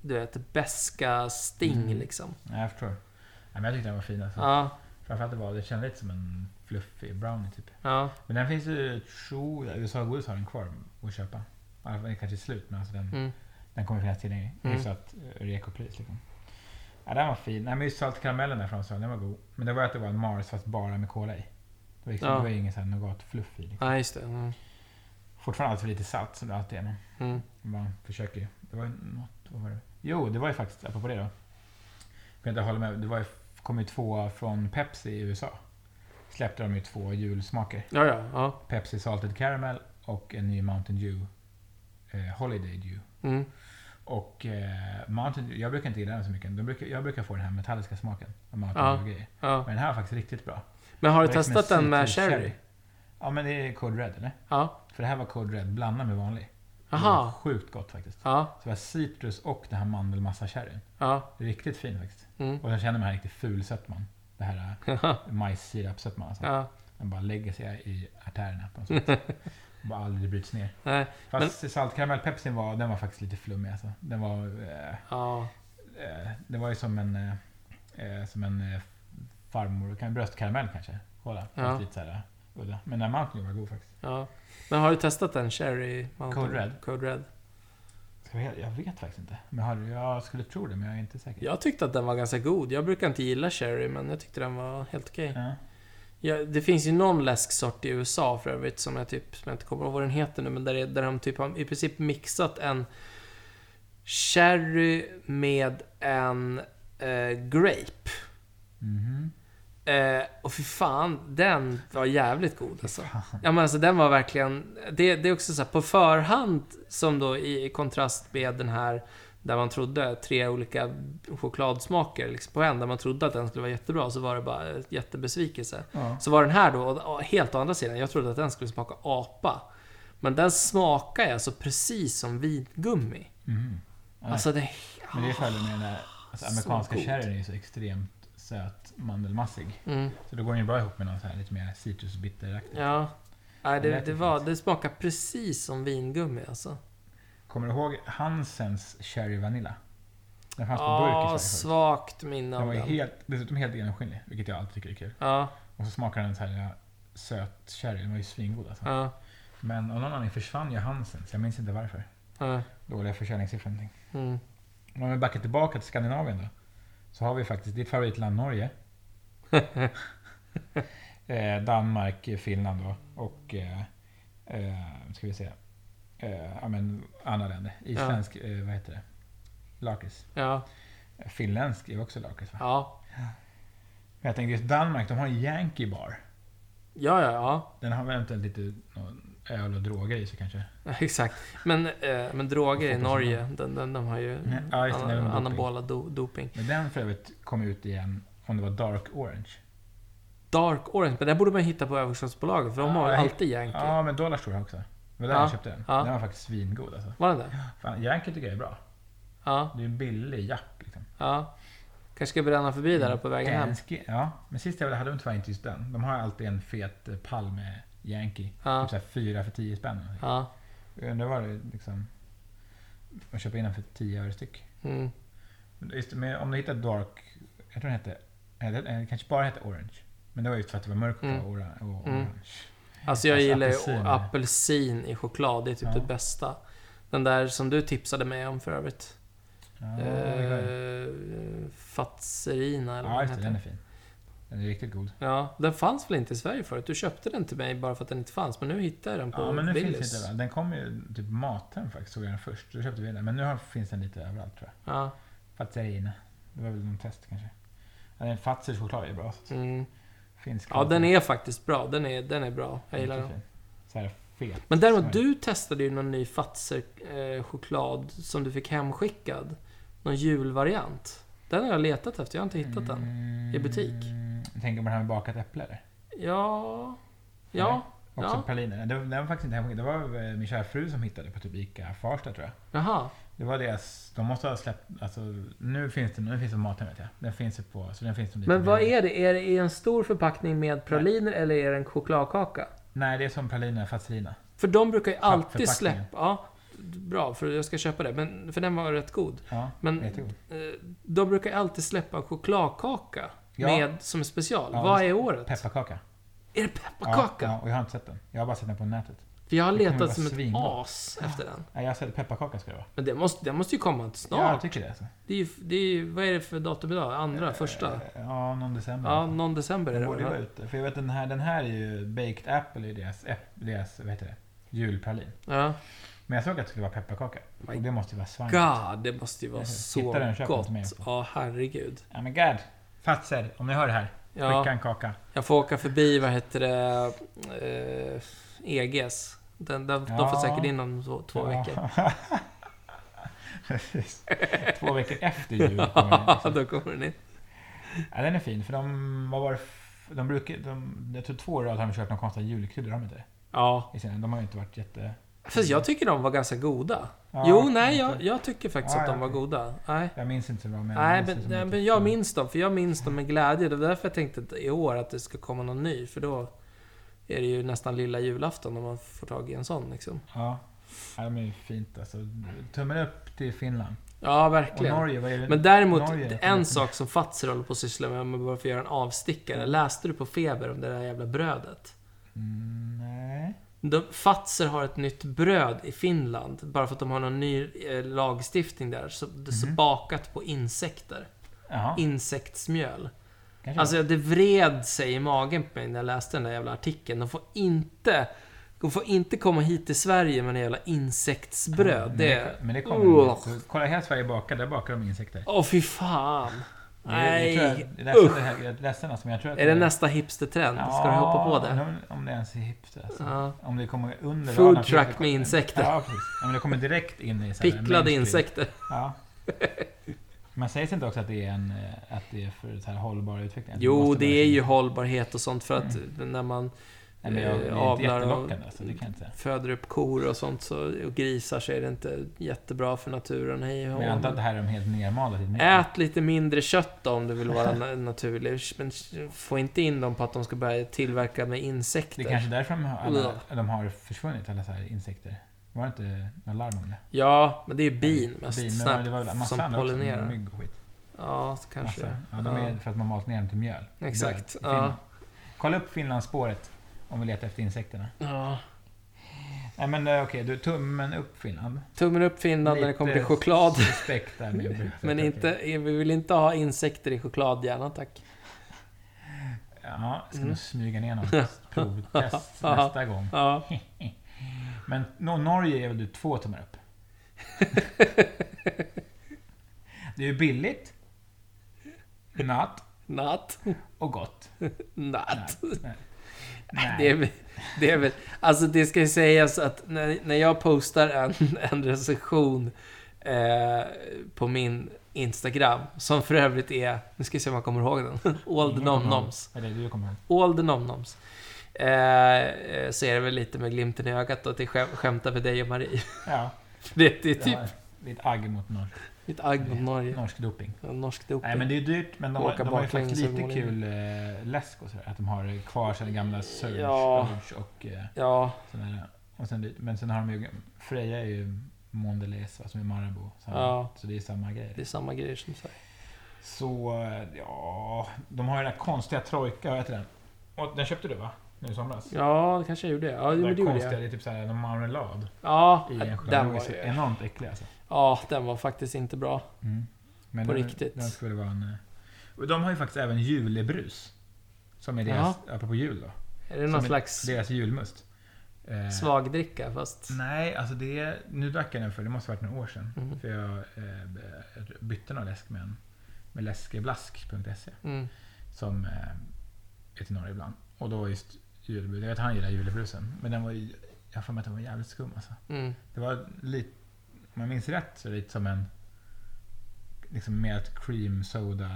B: du vet, beska sting
A: Mm.
B: liksom.
A: Nej, jag förstår. Nej, men jag tyckte den var fin alltså.
B: Ja,
A: Framförallt det var, det kändes lite som en fluffig brownie typ.
B: ja.
A: Men den finns ju, tror jag, USA-godis har den kvar att köpa. I alla fall, den kanske är slut, men alltså den,
B: Mm.
A: den kommer finnas tillgänglig.
B: Mm.
A: Hyfsat eh, rekopris liksom. Ja, den var fin. Nej, men just saltkaramellen där från Sölden, den var god. Men det var att det var en Mars fast bara med cola i. Det var, liksom,
B: Ja.
A: det var ju ingen sån här nougat-fluff i. Liksom.
B: Ja, just det. Mm.
A: Fortfarande alldeles för lite salt som det alltid är. Men
B: Mm.
A: man försöker ju. Det var ju något, vad var det? Jo, det var ju faktiskt, apropå det då. Jag kan inte hålla med. Det var ju, kom ju två från Pepsi i USA. Släppte de ju två julsmaker.
B: Ja, ja, ja.
A: Pepsi Salted Caramel och en ny Mountain Dew. Eh, Holiday Dew.
B: Mm.
A: Och eh, Mountain Dew, jag brukar inte gilla den så mycket. De brukar, jag brukar få den här metalliska smaken av Mountain
B: Ja.
A: Dew grejer.
B: ja.
A: Men den här var faktiskt riktigt bra.
B: Men har du
A: Det var liksom
B: testat
A: en
B: den med
A: citrus
B: cherry?
A: Ja men det är Code Red eller?
B: Ja.
A: För det här var Code Red blandat med vanlig. Det var
B: Aha.
A: Sjukt gott faktiskt.
B: Ja,
A: Så det var citrus och den här mandelmassa-sherryn.
B: ja.
A: Riktigt fin faktiskt.
B: Mm.
A: Och sen känner man här riktigt ful sötman. Det här
B: ja,
A: eh, majssirapssötman alltså.
B: ja,
A: Den bara lägger sig i artärerna på något sätt. bara aldrig bryts ner.
B: nej,
A: Fast saltkaramellpepsin var, den var faktiskt lite flummig alltså. Den var... äh, Eh,
B: ja,
A: eh, det var ju som äh, en... Eh, eh, som en eh, farmor. Kan bröstkaramell kanske? Kolla.
B: Ja.
A: Ja. Lite så här, äh, udda. Men den här mountain Dew var god faktiskt.
B: Ja. Men har du testat den? Cherry Mountain?
A: Code Red?
B: Code Red.
A: Ska jag, jag vet faktiskt inte. Men jag, jag skulle tro det, men jag är inte säker.
B: Jag tyckte att den var ganska god. Jag brukar inte gilla Cherry, men jag tyckte den var helt okej.
A: Ja.
B: Ja, det finns ju någon läsksort i USA för övrigt som jag typ, som jag inte kommer ihåg vad den heter nu, men där, är, där de typ har i princip mixat en Cherry med en eh, Grape.
A: Mhm.
B: Eh, och för fan, den var jävligt god alltså. Ja men alltså den var verkligen... Det, det är också så här, på förhand, som då i, i kontrast med den här där man trodde tre olika chokladsmaker liksom på en, där man trodde att den skulle vara jättebra, så var det bara en jättebesvikelse.
A: Ja.
B: Så var den här då å- å- helt å andra sidan, jag trodde att den skulle smaka apa. Men den smakar ju alltså precis som vingummi.
A: Mhm. Nej.
B: Alltså det...
A: Men det är fördelen med den där alltså,
B: Ah, Så
A: amerikanska
B: god.
A: sherryn är ju så extremt söt mandelmassig.
B: Mm,
A: Så då går den ju bra ihop med någon så här lite mer citrusbitteraktigt.
B: ja. Nej,
A: Den
B: det,
A: lät
B: det,
A: ju
B: var, det smakar precis som vingummi alltså.
A: Kommer du ihåg Hansens Cherry Vanilla? Den fanns på burk i
B: Ja,
A: Sverige förut.
B: svagt minne
A: Den
B: av
A: var ju
B: Ah, den.
A: helt, dessutom helt genomskinlig, vilket jag alltid tycker är kul.
B: Ja,
A: Och så smakade den så här ja, söt sherry, den var ju svingod alltså.
B: ja,
A: Men av någon anledning försvann ju Hansens, jag minns inte varför.
B: ja.
A: Dåliga försäljningssiffror eller någonting.
B: Mm.
A: Men om vi backar tillbaka till Skandinavien då. Så har vi faktiskt ditt favoritland Norge. eh, Danmark, eh, Finland då. Och, eh, eh, ska vi se. Eh, ja men andra länder. Isländsk, eh, vad heter det? Lakrits.
B: Ja,
A: Finländsk är också lakrits va?
B: ja.
A: Men jag tänkte just Danmark, de har en Yankee bar.
B: Ja, ja, ja.
A: Den har väl eventuellt lite någon öl och droger i sig kanske.
B: Exakt. Men, eh, men droger i
A: Fotbollsman.
B: Norge, den, den, de har ju
A: Nej, ja, just det, det är väl
B: ana-
A: doping.
B: anabola do, doping.
A: Men den för övrigt kom ut igen om det var Dark Orange.
B: Dark Orange, men den borde man hitta på överskottsbolaget för de har
A: Ja,
B: ju
A: jag
B: alltid Yankee.
A: Ja, men Dollar Store också. Det var där
B: Ja,
A: jag köpte den.
B: ja.
A: Den var faktiskt svingod alltså.
B: Var den det?
A: Fan, Yankee tycker jag är bra.
B: Ja,
A: Det är en billig japp liksom.
B: ja. Kanske ska bränna förbi där på vägen hem.
A: Yankee, ja. Men sist jag hade de tyvärr inte just den. De har alltid en fet eh, pall med Yankee.
B: Ja.
A: Typ såhär fyra för tio spänn.
B: Ja.
A: Jag undrar vad det liksom... Man köper in den för 10 öre styck.
B: Mm.
A: Men Just, men om du hittar Dark... Jag tror den hette... eh, den- eh, Det kanske bara hette Orange. Men det var just för att det var mörkt
B: Mm.
A: och ora- och
B: Mm.
A: orange.
B: Alltså jag
A: Alltså,
B: gillar ju
A: apelsin.
B: apelsin. i choklad, det är typ
A: Ja.
B: det bästa. Den där som du tipsade mig om för övrigt.
A: Ja,
B: Ja,
A: det var det.
B: Fatserina eller
A: ja
B: Eh, vad
A: just det.
B: heter.
A: Den är fin. Den är riktigt god.
B: Ja, den fanns väl inte i Sverige förut? Du köpte den till mig bara för att den inte fanns, men nu hittar jag den på
A: Ja, men nu
B: Mm. Willys.
A: finns inte överallt. Den kom ju typ Mathem faktiskt, såg jag den först. Då köpte vi den. Men nu har, finns den lite överallt tror jag.
B: Ja,
A: Fatserina. Det var väl någon test kanske. Ja, den Fatsers choklad är bra. Så
B: mm.
A: finsk
B: ja, den är faktiskt bra. Den är, den är bra. Jag gillar den.
A: Så här fet.
B: Men
A: Så här.
B: däremot, du testade ju någon ny Fatser-choklad som du fick hemskickad. Någon julvariant. Den har jag letat efter, jag har inte hittat den. i butik.
A: Mm, jag tänker på den här med bakat äpple eller?
B: Ja... Ja,
A: Också
B: Ja.
A: praliner. Den, den var faktiskt inte hemskickad. Det var eh, min kära fru som hittade på typ Ica Farsta tror jag.
B: jaha.
A: Det var deras... De måste ha släppt... Alltså, nu finns det nu finns det på Mathem vet jag. Den finns ju på... Så den finns som lite
B: Men vad
A: billigare.
B: är det? Är det i en stor förpackning med praliner eller är det en chokladkaka?
A: Nej, det är som praliner, Fatserina.
B: För de brukar ju alltid
A: Pappförpackningen.
B: släppa... Ja, bra, för jag ska köpa det. Men, för den var rätt god.
A: Ja, typ-
B: Men
A: jättegod.
B: eh, de brukar ju alltid släppa en chokladkaka
A: Ja.
B: med, som special.
A: Ja,
B: Vad
A: det-
B: är året?
A: Pepparkaka.
B: Är det pepparkaka?
A: Ja, ja, och jag har inte sett den. Jag har bara sett den på nätet.
B: För jag har
A: Det kommer
B: letat
A: vara
B: som ett
A: svingott.
B: as efter den.
A: Nej, jag har sett pepparkaka ska det vara.
B: Men det måste, det måste ju komma
A: Ja, jag
B: snart.
A: tycker det. Alltså.
B: Det är ju, det är, ju- vad är det för datum idag? Andra? första?
A: Eh, Ja, någon december.
B: Ja, någon december är
A: den
B: det
A: borde
B: väl?
A: vara
B: va?
A: ute. För jag vet den här, den här är ju baked apple i deras, äpp- deras vad heter det? julpralin.
B: Ja.
A: Men jag såg att det skulle vara pepparkaka.
B: My
A: och det måste ju vara svank.
B: God, det måste ju vara
A: Jag
B: så
A: hittar den, köp den
B: gott.
A: till mig.
B: Ja, herregud.
A: Ja men god. Fatser, om ni hör det här. Skicka
B: Ja,
A: en kaka.
B: jag får åka förbi, vad heter det, eh, EGs. Den, den, De får
A: Ja.
B: säkert in om två, två veckor.
A: Ja. Precis. Två veckor efter jul kommer den.
B: Ja,
A: Liksom.
B: då kommer den in.
A: Ja, den är fin. För de, vad var det? f- De brukar, de, jag tror två år i rad har de kört någon konstig julkrydda, har de inte det?
B: Ja.
A: I sina- De har ju inte varit jätte...
B: Fast jag tycker de var ganska goda.
A: Ja,
B: jo, nej,
A: inte-
B: jag, jag tycker faktiskt
A: Ja,
B: att de
A: ja,
B: var
A: okej.
B: goda. Nej.
A: Jag minns inte så bra men...
B: Nej,
A: jag minns
B: men,
A: det som
B: nej,
A: lite-
B: men jag minns dem, för jag minns dem med glädje. Det var därför jag tänkte att i år att det ska komma någon ny, för då är det ju nästan lilla julafton om man får tag i en sån liksom.
A: Ja. ja, de är ju fint alltså. Tummen upp till Finland.
B: Ja,
A: Och
B: verkligen.
A: Norge, vad är det?
B: Men däremot,
A: Norge,
B: det-
A: jag
B: en
A: vet
B: sak som Fazer håller på att syssla med, om man bara får göra en avstickare. Läste du på Feber om det där jävla brödet?
A: Mm, nej.
B: De, Fazer har ett nytt bröd i Finland, bara för att de har någon ny eh, lagstiftning där. Så, så
A: Mhm.
B: bakat på insekter.
A: Jaha,
B: Insektsmjöl.
A: kanske.
B: Alltså det vred sig i magen på mig när jag läste den där jävla artikeln. De får inte, de får inte komma hit till Sverige med en jävla insektsbröd.
A: men
B: det...
A: Men det kommer
B: Ugh.
A: de inte. Kolla hela Sverige bakar, där bakar de insekter.
B: Åh fy fan.
A: Det är-
B: Nej.
A: Jag tror jag, det är nästan, det här, det är nästan som jag tror att
B: Är det nästa hipstertrend? Ska du hoppa på det?
A: om- Om det ens är hippt alltså.
B: Ja.
A: Om det kommer under
B: Food
A: radarn-
B: truck med insekter.
A: Ja, precis. Ja, men det kommer direkt in i... så här
B: Picklade
A: mainstream.
B: insekter.
A: Ja. Men sägs inte också att det är, en, eh, att det är för så här hållbar utveckling? Att det
B: Jo,
A: måste
B: det
A: vara Mm.
B: är
A: så-
B: ju hållbarhet och sånt för att när man
A: Nej, men jag, det
B: eh,
A: är inte
B: avlar och-
A: jättelockande, så det kan jag inte säga.
B: föder upp kor och sånt så, och grisar så är det inte jättebra för naturen. Hej och
A: Men jag
B: hå.
A: antar att det här är de helt nermalade i ett medel.
B: Ät lite mindre kött då, om du vill vara na- naturlig. Men få inte in dem på att de ska börja tillverka med
A: Det
B: insekter.
A: är kanske är därför de har, alla,
B: Ugh.
A: de har försvunnit, alla så här insekter. Var det inte några larm om det?
B: Ja, men det är ju bin mest.
A: Bin, men
B: snabbt,
A: det var väl massa
B: som
A: andra också,
B: pollinerar.
A: Mygg och skit.
B: Ja, så kanske.
A: Massa. Ja, de är för att man malt ner dem till mjöl.
B: Ja, Exakt.
A: Död i Finland.
B: Ja.
A: Kolla upp Finlandsspåret om vi letar efter insekterna.
B: ja.
A: Nej men eh, okej, du tummen upp Finland.
B: Tummen upp Finland när det
A: Lite
B: kommer till choklad.
A: Suspekt där med brödet,
B: Men
A: okej.
B: inte, vi vill inte ha insekter i choklad, gärna tack.
A: Ja, ska
B: Mm.
A: nog smyga ner något provtest nästa gång.
B: Ja.
A: Men no, Norge är väl du två tummar upp? Det är ju billigt, natt
B: Natt.
A: och gott.
B: Natt.
A: Nej, nej.
B: Nej, Det, är, väl- det är väl... Alltså det ska ju sägas att när, när jag postar en, en recension eh, på min Instagram, som för övrigt är... Nu ska jag se om jag kommer ihåg den. All
A: Mm.
B: the nomnoms.
A: Eller du kommer ihåg.
B: All the nomnoms. Eh, eh, så är det väl lite med glimten i ögat då, att jag skäm- skämtar med dig och Marie.
A: Ja,
B: Det, det är
A: det
B: typ
A: har- det är ett agg mot norsk,
B: mitt agg mot Norge.
A: norsk doping.
B: Norsk doping.
A: Nej men det är dyrt, men de, har-
B: Åka
A: de har ju
B: baklänges
A: faktiskt lite
B: över målen.
A: kul eh, läsk och sådär. Att de har kvar sina gamla Surge,
B: Ja.
A: Urge och eh,
B: Ja,
A: sådana här. Och sen, dyrt. men sen har de ju, Freja är ju Mondelez va, som är Marabou. Så,
B: Ja.
A: så det är samma grej.
B: det är samma grejer som så här.
A: Så, eh, ja... De har ju den där konstiga trojka, vad heter den? Och den köpte du va? Nu i somras?
B: Ja, det kanske jag gjorde. Ja, jo,
A: den
B: men det
A: där
B: gjorde
A: konstiga,
B: jag.
A: det är typ såhär, någon marmelad
B: Ja,
A: i en
B: den
A: choklad.
B: var
A: så
B: ju...
A: enormt äcklig alltså.
B: Ja, den var faktiskt inte bra.
A: Mm. Men
B: På
A: den,
B: riktigt.
A: Den skulle vara en, eh, och de har ju faktiskt även julebrus. Som är deras, apropå jul då.
B: Är det
A: Som
B: någon
A: är
B: slags
A: Deras julmust. Eh,
B: svagdricka fast...
A: Nej, alltså det... Nu drack jag den för, det måste ha varit några år sedan.
B: Mhm.
A: För jag eh, b- bytte någon läsk med en. Med läskeblask.se.
B: Mm.
A: E, Som eh, är till Norge ibland. Och då var just julbrus. Jag vet att han gillar julebrusen. Men den var ju... Jag har för mig att den var jävligt skum alltså.
B: Mm.
A: Det var lite... Om jag minns rätt så är det lite som en... Liksom mer ett cream soda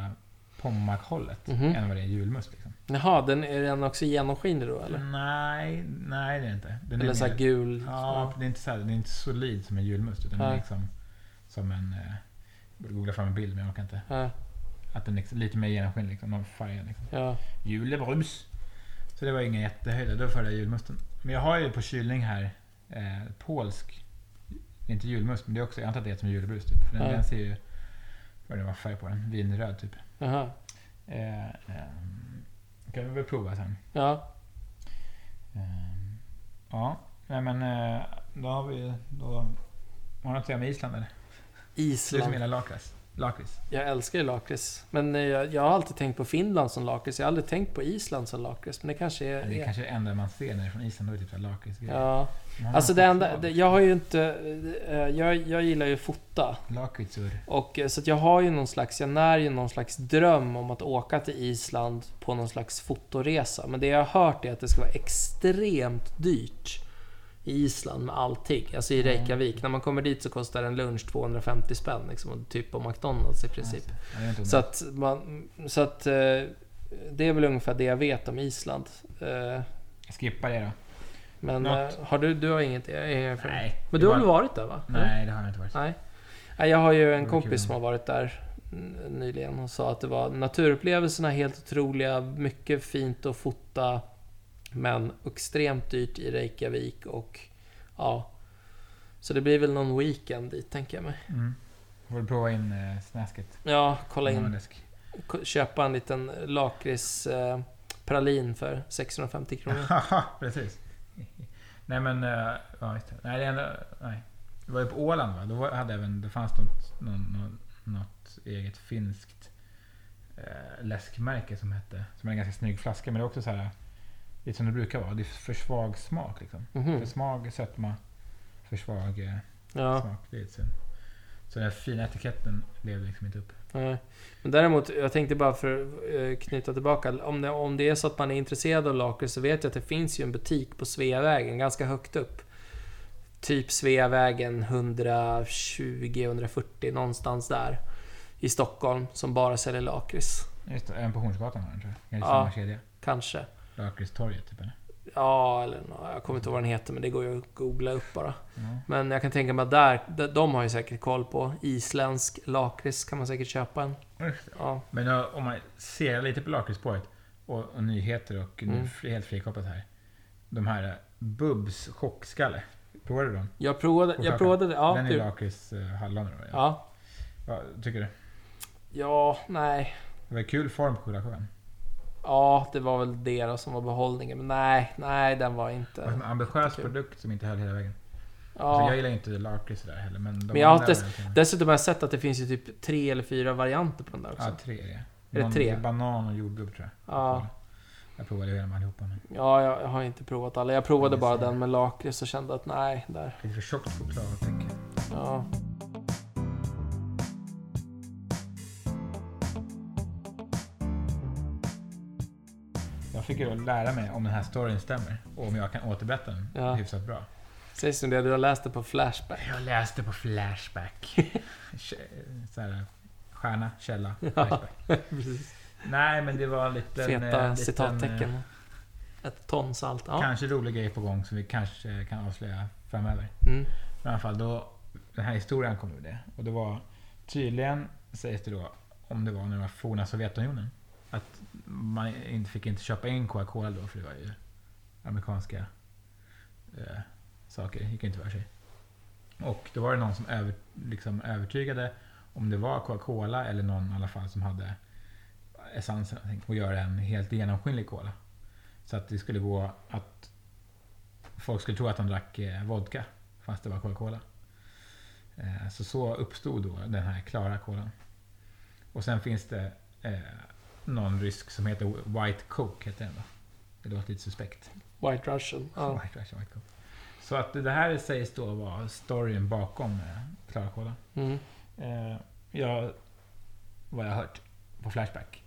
A: pommack-hållet.
B: Mhm.
A: Än vad det är julmust liksom.
B: Jaha, den, är den också genomskinlig då eller?
A: Nej, nej det är det inte. Mm. Den
B: eller
A: är
B: såhär
A: mer-
B: gul?
A: Ja, det är inte så här, det är inte solid som en julmust. Utan den är
B: Nej.
A: liksom som en... eh, Jag borde googla fram en bild men jag orkar inte.
B: Ja,
A: Att den är lite mer genomskinlig, liksom, av färgen. Liksom.
B: ja.
A: Julebrus! Så det var ingen jättehöjd. Det var förra julmusten. Men jag har ju på kylning här eh, polsk... det är Inte julmust, men det är också, jag antar att det är som julebrus. Typ. För den,
B: Ja.
A: den ser ju... Vad det var för färg på den? Vinröd typ.
B: Jaha.
A: Eh, eh, kan vi väl prova sen.
B: Ja.
A: Ehm, Ja, nej men eh, då har vi... Då, har du något att säga om Island eller? Du som
B: Island.
A: gillar lakrits. Lakrits.
B: Jag älskar ju lakrits. Men eh, jag, jag har alltid tänkt på Finland som lakrits. Jag har aldrig tänkt på Island som lakrits. Men det kanske är...
A: Det är kanske det enda man ser när det är från Island, då är det typ så här lakritsgrejer.
B: Eh, Ja.
A: Men har
B: Alltså
A: man
B: det enda...
A: choklad?
B: Det, jag har ju inte... eh, Jag, jag gillar ju fota.
A: Lakritsur.
B: Och, eh, så att jag har ju någon slags, jag när ju någon slags dröm om att åka till Island på någon slags fotoresa. Men det jag har hört är att det ska vara extremt dyrt i Island med allting. Alltså
A: Mm.
B: i Reykjavik. När man kommer dit så kostar en lunch 250 spänn. Liksom, och typ på McDonalds i princip.
A: Ja, det är Alltså, inte
B: Så
A: så
B: att, man, så att eh, det är väl ungefär det jag vet om Island. Eh,
A: Skippa det då.
B: Men
A: Något.
B: eh, har du, du har inget erfarenhet?
A: Nej.
B: Men
A: det
B: du
A: var-
B: har Mm. väl varit där va?
A: Nej, det har jag inte varit.
B: Nej. Nej, Jag har ju en
A: var
B: kompis
A: kul.
B: som har varit där n- nyligen och sa att det var naturupplevelserna helt otroliga, mycket fint att fota, men extremt dyrt i Reykjavik och ja. Så det blir väl någon weekend dit tänker jag mig.
A: Mm. Får du prova in eh, snäsket?
B: Ja, kolla in.
A: Månadsk.
B: K- Köpa en liten lakrits eh, pralin för 650 kronor.
A: Haha, precis. Nej men, eh, ja just det. Nej, det är ändå, nej. Det var ju på Åland va? Då var, hade även, det fanns något, någon, någon, något eget finskt eh, läskmärke som hette, som är en ganska snygg flaska. Men det är också så här, lite som det brukar vara. Det är för svag smak liksom.
B: Mhm.
A: För svag sötma, för svag eh,
B: Ja,
A: smak. Det är ett synd. Så den här fina etiketten levde liksom inte upp.
B: nej. Men däremot, jag tänkte bara för att eh, knyta tillbaka. Om det, om det är så att man är intresserad av lakrits så vet jag att det finns ju en butik på Sveavägen, ganska högt upp. Typ Sveavägen 120-140, någonstans där. I Stockholm, som bara säljer lakrits.
A: Just det, även på Hornsgatan har den tror jag. Kanske
B: Ja.
A: samma kedja.
B: Kanske.
A: Lakritstorget typ eller?
B: Ja, eller nå- jag kommer inte ihåg vad den heter, men det går ju att googla upp bara.
A: Ja.
B: Men jag kan tänka mig att där, de- de har ju säkert koll på isländsk lakrits, kan man säkert köpa en.
A: Just
B: Ja,
A: Men ja, om man ser lite på lakritsspåret och, och nyheter och nu
B: Mm.
A: fri- helt frikopplat här. De här eh, Bubs chockskalle. Provade du dem?
B: jag provade, jag
A: Chokladkaka.
B: provade det. Ja,
A: Den är
B: du-
A: lakritshallon. Ja.
B: ja.
A: Vad tycker du?
B: ja, nej.
A: Det var kul form på chokladkakan.
B: Ja, det var väl det då som var behållningen. Men nej, nej, den var
A: Det var
B: inte...
A: en ambitiös
B: Kul.
A: produkt som inte höll hela vägen. Så
B: Ja.
A: alltså, jag gillar ju inte lakrits sådär heller. Men, de
B: Men jag har
A: andra
B: inte-
A: varianterna-
B: Dessutom har jag sett att det finns ju typ tre eller fyra varianter på den där också.
A: Ja, tre är det.
B: det
A: Någon
B: tre?
A: med Banan och jordgubb tror jag.
B: Ja,
A: Jag provade ju dem allihopa. Men
B: ja jag, jag har inte provat alla. Jag provade
A: Jag
B: bara
A: ser.
B: den med lakrits och kände att nej, där.
A: lite för tjockt choklad tänker jag.
B: Ja.
A: Jag fick ju då lära mig om den här storyn stämmer. Och om jag kan återberätta den
B: Ja.
A: hyfsat bra.
B: Säg som det, du har läst det på Flashback.
A: Jag läste på Flashback. Kä- så här, stjärna, källa, Flashback.
B: Precis.
A: Nej, men det var en liten... eh,
B: Feta
A: liten,
B: citattecken.
A: eh,
B: Ett ton salt. Ja.
A: Kanske rolig grej på gång som vi kanske kan avslöja framöver.
B: Mm.
A: Men i alla fall, då, den här historien kom ur det. Och det var tydligen, sägs det då, om det var när det var forna Sovjetunionen. Att man inte, fick inte köpa in Coca-Cola då, för det var ju amerikanska eh, saker. Det gick inte för sig. Och då var det någon som över, liksom övertygade om det var Coca-Cola eller någon i alla fall som hade essensen jag tänkte, och göra en helt genomskinlig cola. Så att det skulle gå att folk skulle tro att de drack eh, vodka fast det var Coca-Cola. Eh, Så så uppstod då den här klara kolan. Och sen finns det eh, någon rysk som heter White Coke. Heter den då. Det låter lite suspekt.
B: White Russian. Ja.
A: White Russian White Coke. Så att det här sägs då vara storyn bakom eh, klara kolan.
B: Mm.
A: Eh, ja, vad jag har hört på Flashback.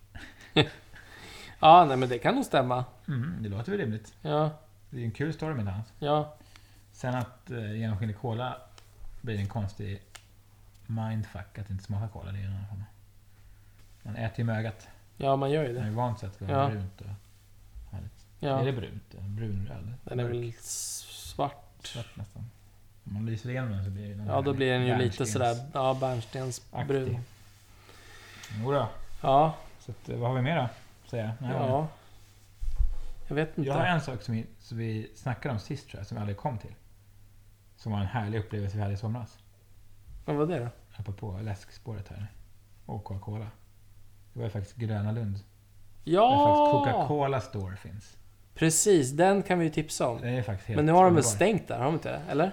B: ja, nej men det kan nog stämma.
A: Mm, det låter väl rimligt.
B: Ja,
A: Det är ju en kul story med dans.
B: ja.
A: Sen att eh, genomskinlig cola blir en konstig mindfuck att inte smaka cola. Det är ju någon form. av- Man äter ju med ögat.
B: Ja, man gör ju
A: Man
B: det.
A: är van sig att det ska vara
B: Ja.
A: brunt. Och, Är
B: Ja.
A: det brunt? Brunröd?
B: Den är väl svart.
A: Svart nästan. Om man lyser igenom den så blir det någon
B: Ja, då blir den ju lite
A: bärnstens-
B: sådär, ja, bärnstensbrun.
A: aktig. Jodå.
B: Ja,
A: Så att, eh, vad har vi mer då? Säger jag. Nej,
B: ja. Jag vet
A: Jag har
B: inte.
A: en sak som vi, som vi snackade om sist tror jag, som vi aldrig kom till. Som var en härlig upplevelse vi hade i somras.
B: Vad var det då?
A: Apropå läskspåret här. Och Coca-Cola. Det var ju faktiskt Gröna Lund. Där
B: Ah!
A: faktiskt
B: Ja!
A: Coca-Cola Store finns.
B: Precis, den kan vi ju tipsa om.
A: Den är faktiskt helt
B: Men nu har de väl
A: underbar.
B: stängt där, har de inte det? Eller?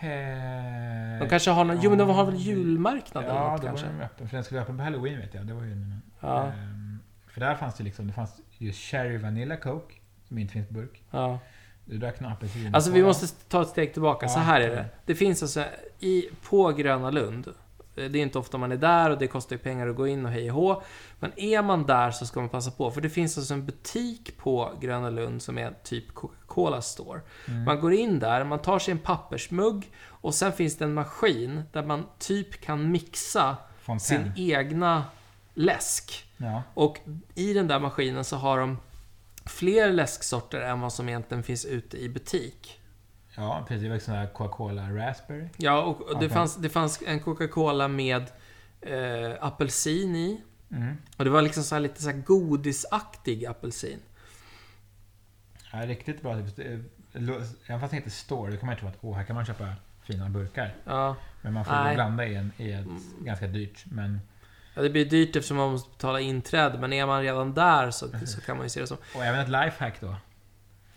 A: Eh,
B: De kanske har någon, jo men de har väl
A: ja.
B: julmarknad eller
A: Ja,
B: något
A: då var
B: kanske?
A: den öppen. För den skulle vara öppen på Halloween vet jag. Det var ju en,
B: Ja,
A: ehm, För där fanns det liksom, det fanns ju Cherry Vanilla Coke. Som inte finns på burk.
B: ja.
A: Du drack någon apelsin.
B: Alltså vi måste ta ett steg tillbaka.
A: Ja,
B: Så här är det.
A: okej.
B: Det finns alltså i, på Gröna Lund. eh, Det är inte ofta man är där och det kostar ju pengar att gå in och hej och hå. Men är man där så ska man passa på. För det finns alltså en butik på Gröna Lund som är typ Coca-Cola Store.
A: Mm.
B: Man går in där, man tar sig en pappersmugg och sen finns det en maskin där man typ kan mixa sin
A: Fontaine.
B: egna läsk.
A: Ja.
B: Och i den där maskinen så har de fler läsksorter än vad som egentligen finns ute i butik.
A: ja, precis. Det var ju sån där Coca-Cola Raspberry.
B: Ja, och och det,
A: Okej.
B: fanns, det fanns en Coca-Cola med eh, apelsin i.
A: Mm.
B: Och det var liksom så här lite så här godisaktig apelsin.
A: Typ, eh, Ja, riktigt bra tips. Det är- Även fast det heter store, då kan man ju tro att åh, här kan man köpa fina burkar.
B: Ja.
A: Men man får ju
B: Nej.
A: blanda i, en, i ett ganska dyrt. Men,
B: ja, det blir dyrt eftersom man måste betala inträde, men är man redan där så, så kan man ju se det som...
A: och även ett lifehack då.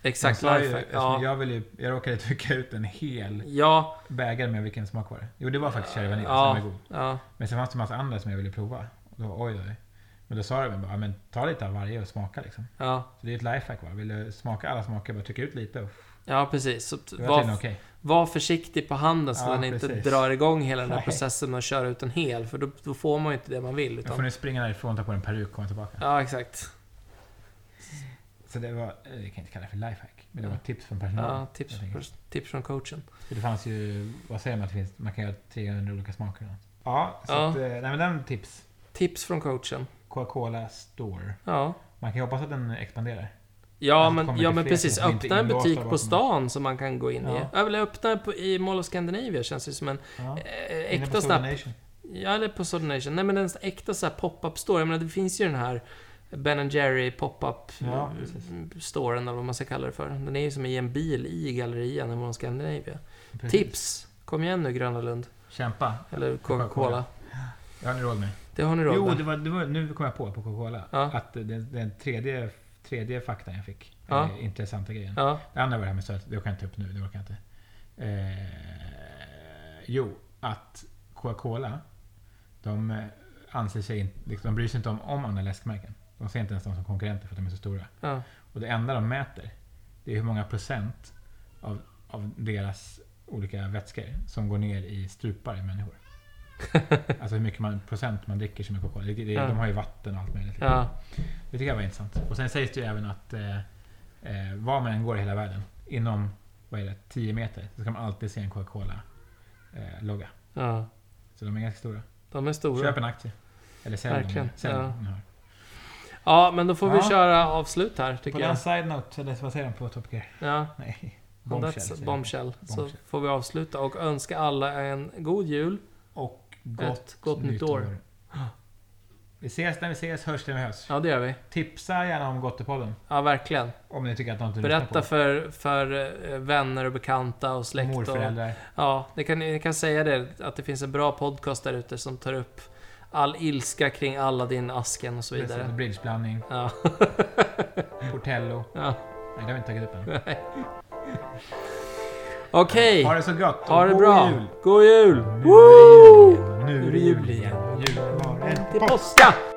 B: Exakt,
A: jag, sa ju-
B: lifehack.
A: eftersom
B: Ja.
A: jag, vill ju, jag råkade trycka ut en hel
B: Ja,
A: bägare med vilken smak var det? Jo, det var faktiskt cherry vanilj.
B: Ja.
A: som är god.
B: ja.
A: Men sen fanns det en massa andra som jag ville prova. Och då, oj, oj. Men då sa de bara, "Ja, men ta lite av varje och smaka liksom.
B: Ja,
A: Så det är ett lifehack va? Vill du smaka alla smaker, bara trycka ut lite. Och
B: ja precis. Så t-
A: det var tydligen
B: var,
A: okej.
B: var försiktig på handen så
A: Ja,
B: den inte
A: precis.
B: drar igång hela den här
A: Nej.
B: processen och kör ut en hel, för då, då får man ju inte det man vill.
A: Nu får
B: Utan,
A: ni springa därifrån, ta på en peruk och komma tillbaka.
B: ja, exakt.
A: Så det var, eh, jag kan inte kalla det för lifehack, men det var
B: Ja.
A: ett tips från personalen.
B: Ja, tips,
A: Mm. jag tänker.
B: tips från coachen.
A: För det fanns ju, vad säger man att det finns? Man kan göra 300 olika smaker. eller något. Ja, så
B: Ja.
A: Att, eh, nej men den tips.
B: Tips från coachen.
A: Coca-Cola Store.
B: Ja.
A: Man kan ju hoppas att den expanderar.
B: Ja,
A: Alltså,
B: men,
A: kommer
B: ja,
A: till
B: men
A: fler
B: precis.
A: som inte
B: Öppna en
A: inlåsta
B: butik på
A: bakom-
B: stan som man kan gå in i.
A: Ja.
B: Jag vill öppna på, i Mall of Scandinavia, känns det som en
A: Ja.
B: eh,
A: Inne på Soda
B: äkta snabb...
A: Nation.
B: Ja, eller på Soda Nation. Nej, men en äkta så här pop-up store. Jag menar, det finns ju den här Ben Jerry pop-up
A: Ja,
B: eh,
A: precis.
B: storen, eller vad man ska kalla det för. Den är ju som i en bil i gallerian i Mall of Scandinavia.
A: Precis.
B: Tips! Kom igen nu, Gröna Lund.
A: Kämpa.
B: Eller Coca-Cola.
A: Coca-Cola. Det har ni råd med.
B: Det har ni råd
A: Jo,
B: med.
A: det var, det var, nu kom jag på, på Coca-Cola,
B: Ja.
A: att den, den tredje, tredje faktan jag fick,
B: Ja.
A: eller intressanta grejen.
B: Ja,
A: Det andra var det här med söt, det kan jag inte ta upp nu, det orkar jag inte. Eh, jo, att Coca-Cola, de eh, anser sig inte, liksom, de bryr sig inte om, om andra läskmärken. De ser inte ens dem som konkurrenter för att de är så stora.
B: ja,
A: Och det enda de mäter, det är hur många procent av, av deras olika vätskor som går ner i strupar i människor. alltså hur mycket man, procent man dricker som är Coca-Cola. Det, det,
B: Ja.
A: De har ju vatten och allt möjligt.
B: ja.
A: Det tycker jag var intressant. Och sen sägs det ju även att eh, eh, var man än går i hela världen, inom vad är det, 10 meter, så ska man alltid se en Coca-Cola-logga.
B: ja.
A: så de är ganska stora.
B: De är stora.
A: Köp en aktie. Eller sälj
B: Verkligen,
A: den. Sälj
B: ja.
A: den. Ja.
B: Ja, men då får vi
A: Ja.
B: köra avslut här,
A: På
B: tycker
A: den
B: jag.
A: side-note, eller vad säger de på Top Gear?
B: Ja.
A: Nej.
B: Bombshell,
A: säger de.
B: bombshell. Så
A: Bombshell.
B: får vi avsluta och önska alla en god jul.
A: Och
B: Ett gott nytt år.
A: Vi ses när vi ses, hörs när vi hörs.
B: Ja, det gör vi.
A: Tipsa gärna om Gottepodden.
B: Ja, verkligen.
A: Om ni tycker att något att lyssna
B: Berätta för, för eh, vänner och bekanta och
A: på.
B: släkt. Och,
A: Morföräldrar.
B: ja, ni kan, ni kan säga det, att det finns en bra podcast där ute som tar upp all ilska kring Aladdin, asken och så
A: precis,
B: vidare.
A: Bridgeblandning.
B: Ja,
A: Portello.
B: ja.
A: Nej, det har vi inte tagit upp än.
B: Okej,
A: Ha det så gott. och
B: ha det
A: god
B: bra.
A: Jul.
B: God jul!
A: Nu är det jul igen. Nu
B: Woo!
A: är det jul igen. Jul var en
B: Till påska!